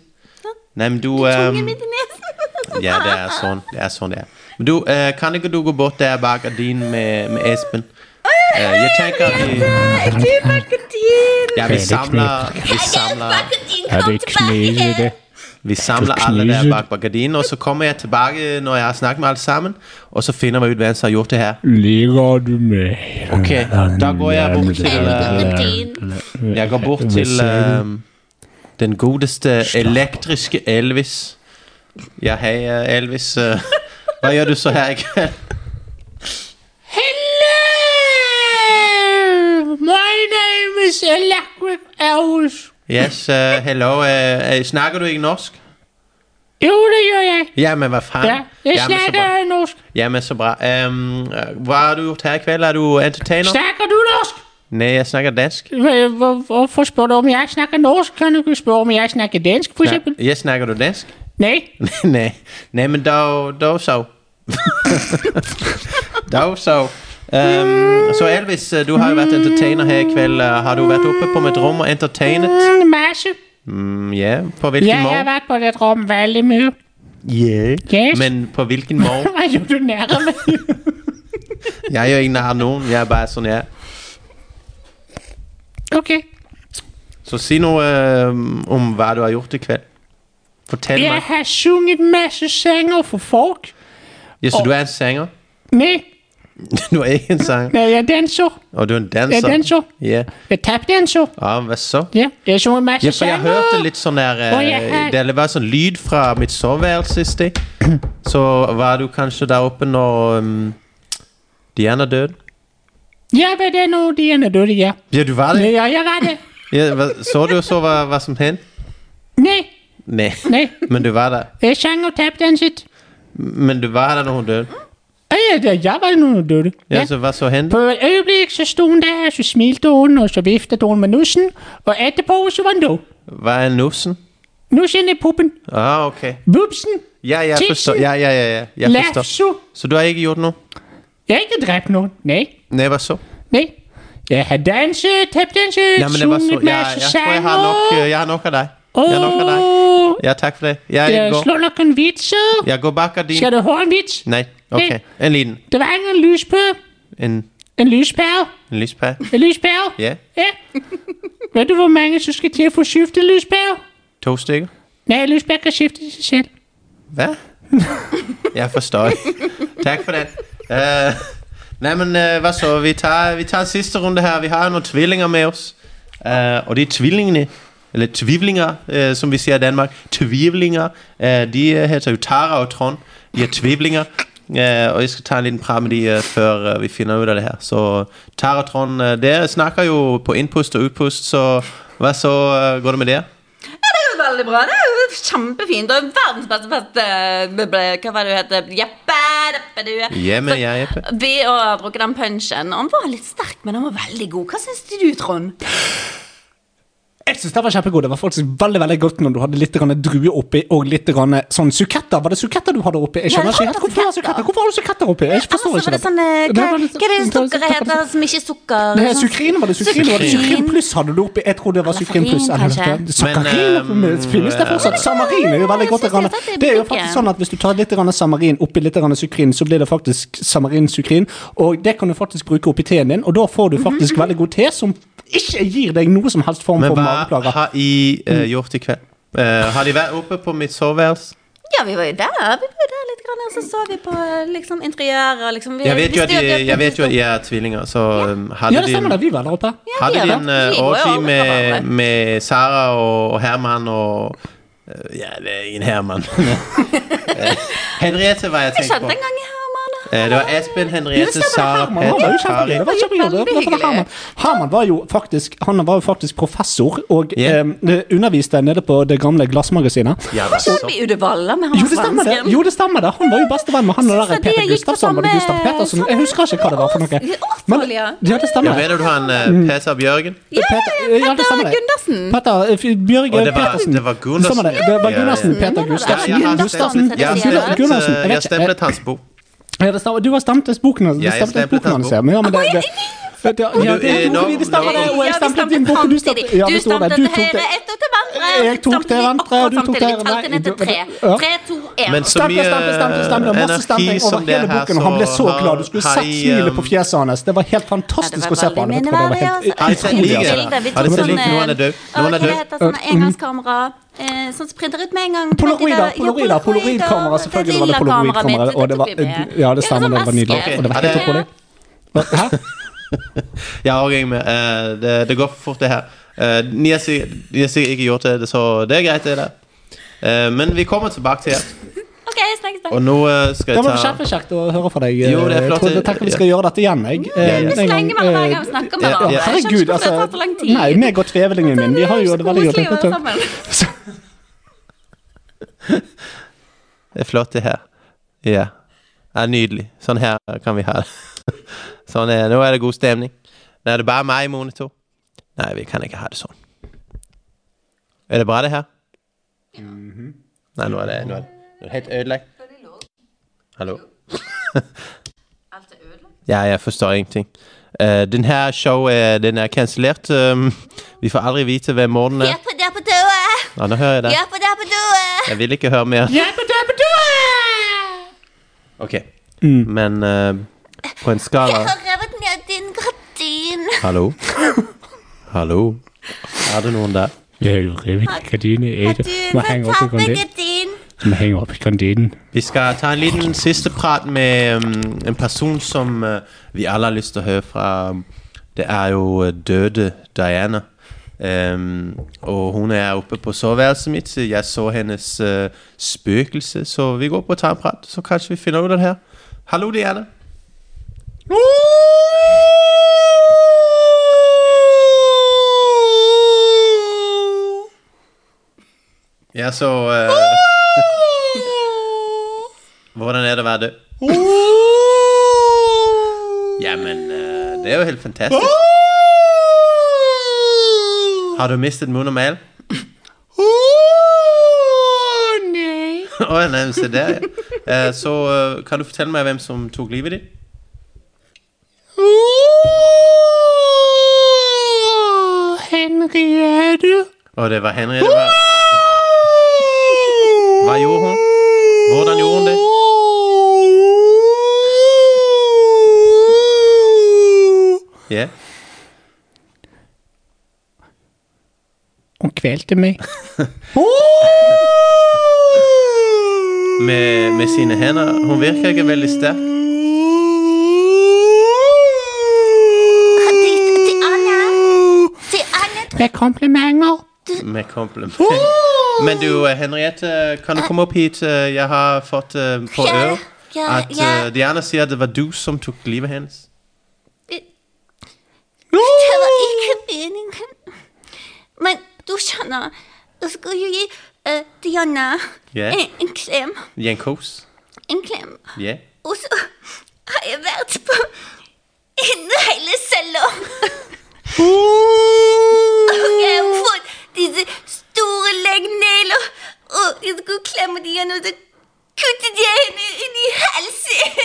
Nei, men du Tunge ehm, midt i nesen. Ja, det er sånn det er. Sånn det er. Men du, eh, kan ikke du gå bort der bak gardinen med, med Espen? Eh, jeg tenker at vi, Du, Marketin. ja, vi samler Vi samler Er det kniv i det? Vi samler Så alle der kniser bak bak gardinen, og så kommer jeg tilbake når jeg har snakket med alle sammen, og så finner vi ut hvem som har gjort det her. Ligger du med Ok, da går jeg bort til, øh, eh, Jeg går bort til ehm, den godeste elektriske Elvis. Ja, hei, eh, Elvis. eh, hva gjør du så her i kveld? Hello! My name is Electric Elvis. øh, Yes, eh, hello. eh, eh, snakker du ikke norsk? Jo, det gjør jeg. Ja, men hva faen? Ja, jeg Ja, men så bra. snakker norsk. Ja, men så bra. Ehm, hva har du gjort her i kveld? Er du entertainer? Snakker du norsk? Nei, jeg snakker dansk. Hva- hvor- Hvorfor spør du om jeg snakker norsk? Kan du ikke spørre om jeg snakker dansk, for Ja, eksempel? jeg snakker du dansk? Nei. Nei. Nei, men da, da så. da så. Ehm, så Elvis, du har jo vært entertainer her i kveld. Øh, Har du vært oppe på mitt rom og entertainet? Mm, masse. Mm, ja, på Ja, hvilken jeg har måte? vært på det rom veldig mye. Yeah. Yes. Men på hvilken måte? Hva gjør du nærme? Jeg gjør ikke nær noen. Jeg er bare sånn jeg er. Ok. Så si noe ehm, om hva du har gjort i kveld. Fortell Jeg meg. har sunget masse sanger for folk. Ja, så du er en sanger? Nei, Du er ikke en sanger. nei, jeg danser. Og du er en Jeg danser? danser. Ja. Jeg tapdanser. Ja, hva så? Ja, jeg synger masse Ja, for jeg sanger. hørte litt sånn der eh, Og jeg har- Det var sånn lyd fra mitt soveværelse i sted. Så var du kanskje der oppe når um, Diana døde? Ja, men det er nå de ene døde, ja. Ja, du var det? Ja, jeg var det. Ja, hva- så du så hva, hva som hendte? Nei, Nei. nei. Men du var der. Jeg sang og tapdanset. Men du var der når hun døde. Ja, ja, det- jeg var nå hun døde. Ja, Ja. så hva så hendte? På et øyeblikk så sto hun der, så smilte hun, og så viftet hun med nussen. Og etterpå så var hun død. Hva er nosen? Nussen er puppen. Ah, ok. Bubsen. Ja, jeg Titsen. forstår. Ja, ja, ja, ja. Jeg forstår. Lefso. Så du har ikke gjort noe? Jeg har ikke drept noen. Nei. Nei, hva så? Nei. Jeg har danset, tapdanset, Ja, men det var så sunget ja, masse Jeg tror jeg sanger. har nok, eh, jeg har nok av deg. Jeg har nok av deg. Åh, Ja, takk for det. Jeg jeg går, slår noen vitser. jeg går bak av din øh. Skal du ha en vits? Nei, ok. Nei. En liten. Det var en lyspære. En, En lyspære. en lyspære. En lyspære. Ja, Ja. Ved du, hvor mange som skal til at få skiftet lyspære? to stykker. Nej, lyspære kan skifte sig selv. Hva? Jeg forstår. Takk for den. Eh, nei, men eh, hva så? Vi tar, vi tar en siste runde her. Vi har jo noen tvillinger med oss. Eh, og de tvillingene, eller tvivlinger, eh, som vi sier i Danmark, tvivlinger, eh, de eh, heter jo Tara og Trond. De er tvivlinger. Eh, og jeg skal ta en liten prat med de eh, før eh, vi finner ut av det her. Så Tara og Trond, eh, dere snakker jo på innpust og utpust, så hva så eh, går det med dere? Det er jo Veldig bra. Det er jo kjempefint. Og verdens beste beste eh, ble- ble- Hva var det du heter? Jeppe? Jeppe, du. Ja, men jeg, Jeppe. Ved å bruke den punchen. Han var litt sterk, men han var veldig god. Hva syns du, Trond? Jeg synes det var kjempegod. Det var faktisk veldig veldig godt når du hadde litt grann drue oppi og litt grann sånn suketter. Var det suketter du hadde oppi? Jeg skjønner Ja, ikke helt. Hvorfor har du suketter Hvorfor har du suketter oppi? Jeg Ellers forstår var ikke det sånn eh, Hva, var litt- hva er det sukkeret heter som ikke er sukker? Det er sukrin, var det sukrin? Var det sukrin Sukrin. pluss hadde du oppi? Jeg trodde det var Eller sukrin pluss. farin, eller kanskje? noe. Sakarin Men, eh, men, finnes det fortsatt. Samarin er jo veldig godt. Jeg synes grann. det er Det er jo bruken. faktisk sånn at Hvis du tar litt grann samarin oppi litt grann sukrin, så blir det faktisk samarin-sukrin. Og det kan du faktisk bruke oppi teen din, og da får du Mhm. faktisk veldig god te som ikke gir deg noe som helst form Men for hva mageplager. har I eh, gjort i kveld? Eh, har de vært oppe på mitt soveværelse? Ja, vi var jo der. Vi var jo der litt, grann, og så så vi på eh, liksom, interiøret. Liksom. Vi Jeg vet jo at, visste de, at- jeg vet jo at I er tvillinger, så um, Ja, hadde det de stemmer det. en, Vi var der oppe. vi hadde er de da. en Vi eh, går jo orgy alle fra hverandre. med, med Sara og, og Herman og eh, Ja, det er ingen Herman. Eh, Henriette var jeg Jeg tenkt kjente på. en gang i Herman. Eh, det var Espen, Ja, Henriette, det stemmer, Sara, Herman, han var jo Petter, kjempegøy. Kari Det var kjempegøy. Veldig Det var for Herman. Herman var jo faktisk Han var jo faktisk professor og Ja. eh, underviste nede på det gamle glassmagasinet. Ja, hva så? Sånn vi udevalla med han Jo, det stemmer det! svensken. Jo, det stemmer det. Han var jo bestevenn med han og Så- der så de Peter gikk på Gustavsson. Var det samme- Gustav Petersen? Jeg husker ikke hva det var for noe. Ås- Men, Åsvold, ja. ja, det Jeg stemmer. vet at du har en eh, Peter Bjørgen. Ja, ja, Peter- ja, ja, det stemmer Petter det. Gundersen. Peter eh, f- Bjørge Og det var- Petersen. det var Gundersen. Stemmer det. Det var Ja, ja, ja. Gunnarsen. Men det Peter var Ja, Gustavsen. jeg har Gustavsen. stemplet, jeg har Gustavsen. stemplet, Gunnarsen. eh, jeg har stemplet hans bok. Ja, det stemmer. Du har stemt boken hans. Ja, Du jeg stemte stemplet boken hans, ja. den Men ja, men det, det, det, det, ja, Og du, eh, det gjorde vi. nå- Det stemmer det. Og Ja, jeg vi stemplet din bok, og du stemte samtidig. ja, Du det står der. stemte Du til tok høyre, det. ett og til venstre. Jeg tok Samtidig, til venstre, og du tok akkurat til- samtidig. Talte Nei, ned til tre. ja. Tre, to, en. Men så Stemple, mye stemple, stemple, stemple. Det var masse energi stempling over som det hele her, boken, og han ble så har- glad. Du skulle har sett I, smilet um, på fjeset hans. Det var helt Ja, fantastisk det å se var på. han. Vet veldig du hva, Det var helt minneverdig, altså. Har dere sett utrolig. Jeg ligaen? bilder, vi Har dere tok sett sånn, ligaen? Noen er eh, død. Noen Å, hva er død. det heter sånn Mm. engangskamera? Eh, sånn som printer ut med en gang. Du vet de Polaroider, der- jo, polaroider, polaroider, polaroidkamera. Selvfølgelig var lilla det kameraet polaroidkamera. mitt, Og det var, tok vi med. ja, det stemmer, sånn det var nydelig. maske. Og det var helt eh, Ja, det- utrolig. altså. Hæ? Ja, og jeg er med. Eh, det, det går for fort, det her. Eh, Ni har sikkert ni har sikkert ikke gjort det, så det er greit, det der. Eh, men vi kommer tilbake til det. Ok, snakkes da. Og nå eh, skal jeg Det var ta kjempekjekt å høre fra deg. Jo, det er flott. Jeg tror- Jeg tenker vi skal gjøre dette igjen. Jeg. Eh, Vi en slenger gang, mellom hver eh, gang vi snakker med ja, hverandre. ja, Jeg skjønner Herregud, ikke hvorfor det altså. tar så lang tid. Nei, meg og tvevelingen min. Vi har jo det veldig Det er så godt. koselig å være sammen. Så- Det er flott det her. Ja. Ja, nydelig. Sånn her kan vi ha det. Sånn er det. Nå er det god stemning. Nå er det bare meg i monitor. Nei, vi kan ikke ha det sånn. Er det bra, det her? Nei, nå er det, nå er det, nå er det helt ødelagt. Hallo? Alt er ødelagt. Ja, jeg forstår ingenting. Eh, den her show er, den er kansellert. Um, vi får aldri vite hvem Morten er. Hjelp der på døra! Ja, nå hører jeg det. Hjelp der på døra! Jeg vil ikke høre mer. Ok. Men eh, på en skala Jeg har revet ned din gardin. Hallo? Hallo? Er det noen der? Jeg river ikke gardinen i Har det. du Må fått henge opp i tatt med gardinen. gardin? Må henge opp i gardinen. Vi skal ta en liten siste prat med um, en person som uh, vi alle har lyst til å høre fra. Det er jo uh, døde Diana. Um, og hun er oppe på soveværelset mitt. Jeg så hennes uh, spøkelse, så vi går på og tar en prat. Så kanskje vi finner ut av det her. Hallo, Diana. Ja, så uh, Hvordan er det å være død? Jamen, eh, det er jo helt fantastisk. Har du mistet munn og mæl? Å nei, se der, ja. Eh, Så eh, kan du fortelle meg hvem som tok livet ditt? Henriette. Og det var Henriette. Hva, hva gjorde hun? Hvordan gjorde hun det? Ja. Hun kvelte meg. Med, med sine hender. Hun virker ikke veldig sterk. Di- Til Anna. Til Anna. Med komplimenter. Med kompliment. Men du, eh, Henriette, kan du komme opp hit? Eh, Jeg har fått eh, på Ja, øret ja, at ja. eh, Diana sier at det var du som tok livet hennes. Det var ikke meningen. Men du skjønner, jeg skulle jo gi eh, Diana Ja. en, en klem. Gi en kos. En klem. Ja. Og så har jeg vært på innheilesalong. Og jeg har fått disse store leggnegler, og jeg skulle klemme de igjen, og så kuttet jeg henne inn i halsen.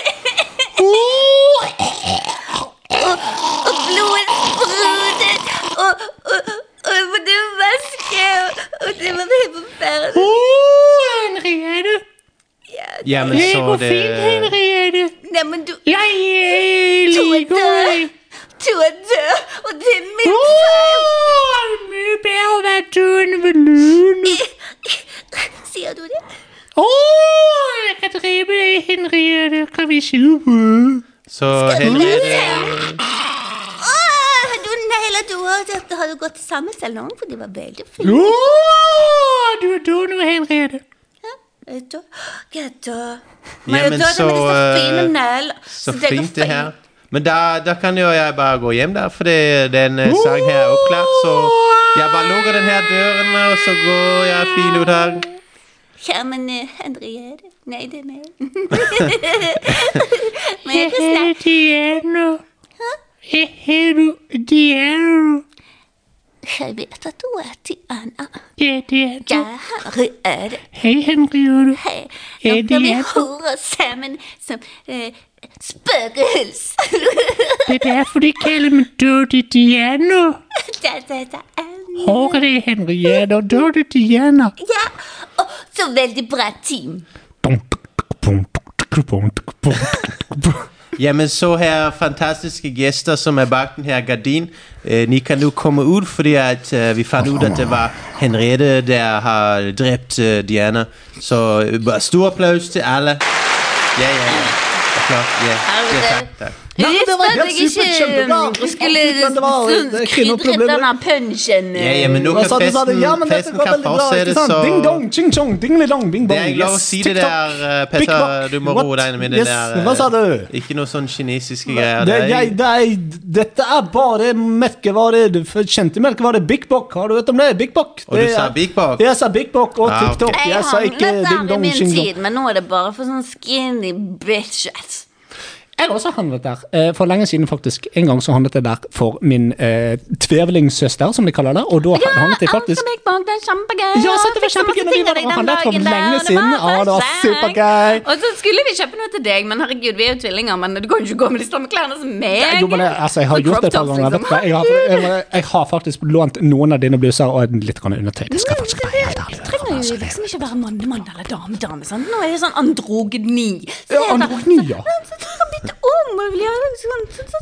og, og blodet sprutet, og, og, og jeg måtte vaske, og, og det var helt forferdelig. Åh, Henriette. Ja, men Det så går fint, det Henriette. Nei, men du... Jeg eh, liker deg. Du er død, og det er min Åh, mye bedre å være død enn ved lune. feil. Sier du det? Åh, jeg kan drepe deg, Henriette. Kan vi se på? Så Henriette Åh, har du nailer du også? Dette har du gått til samme salong, for det var veldig fint. Åh, du er død nå, Henriette. Ja, jeg er død. Jeg er død. Ja, Men jeg men er død så, med disse fine eh, negler. Så det går fint det her. fint. Men da, da kan jo jeg bare gå hjem der, for det, den eh, sangen her er oppklart. Så jeg bare lukker den her døren, og så går jeg fin ut her. Ja, men eh, Henriette. Nei, det er meg. men jeg kan snakke. Diana. Hehe, du. Diana. Jeg vet at du er til Anna. Ja, Diana. Jeg har rød. Hei, Henriette. Hei, nå Er blir vi det- horer sammen som eh, spøkels. Det er derfor de kalder meg Dirty Diana. da, da, da, Anna. Håret det er Henriette og Dirty Diana. Ja, og så veldig bra team. Jamen så her fantastiske gæster, som er bak den her gardin. Eh, ni kan nu komme ud, fordi at, eh, vi fandt ud, at det var Henriette, der har dræbt eh, Diana. Så øh, bare stor applaus til alle. Ja, ja, ja. Applaus. Ja, ja tak, tak. Nei, men det var Visste at helt jeg ikke superkjempebra. mm, skulle Men det var- eh, det er ikke noe krydret problem. denne punchen. Ja, ja, men nå Øh, Og kan så hadde jeg sagt, festen, ja, men dette festen går kan veldig bra, fortsette, ikke sant? så Ding dong, ching chong, dingle dong, bing Det bong. er jeg glad å yes, si det TikTok, der, eh, Big Peter. Mac, Du må what? roe deg ned med det Yes, der. eh, Hva sa du? Ikke noe sånn kinesiske greier. Det, Det er- jeg, det er, dette er bare merkevare. Du f- Kjente merkevare Big Bock. Har du hørt om det? Big Bock. Og du Det sa er- Big Bock? Jeg sa Big Bock og Ah, ok. TikTok. eh, Jeg Jeg sa ikke handlet Ding der i Dong min Ching Dong. tid, men nå er det bare for sånne skinny bitches. Jeg har også handlet der, eh, for lenge siden faktisk. En gang så handlet jeg der for min eh, tvevlingssøster, som de kaller det. Og da Ja, handlet jeg elsker faktisk Big Bang, det er kjempegøy. Ja, sant, det var Fikk så masse kjempegøy når vi ting av var deg og den handlet for dagen der, lenge og det siden. var Ja, det var så supergøy. kjekt. Og så skulle vi kjøpe noe til deg, men herregud, vi er jo tvillinger, men du kan jo ikke gå med de samme klærne som meg. Jo, men jeg, altså, jeg har Sånn gjort det et par crop tops, ganger. Vet du hva? Jeg, har, jeg, jeg, har faktisk lånt noen av dine bluser og en litt grann undertøy. Det skal faktisk være helt ærlig. Det trenger jo liksom ikke være mannemann eller dame-dame. sant? Nå er det sånn androgyni. Ja, androgyni, ja. Så, så, så, bytte om, og vi gjør sånn, så, så,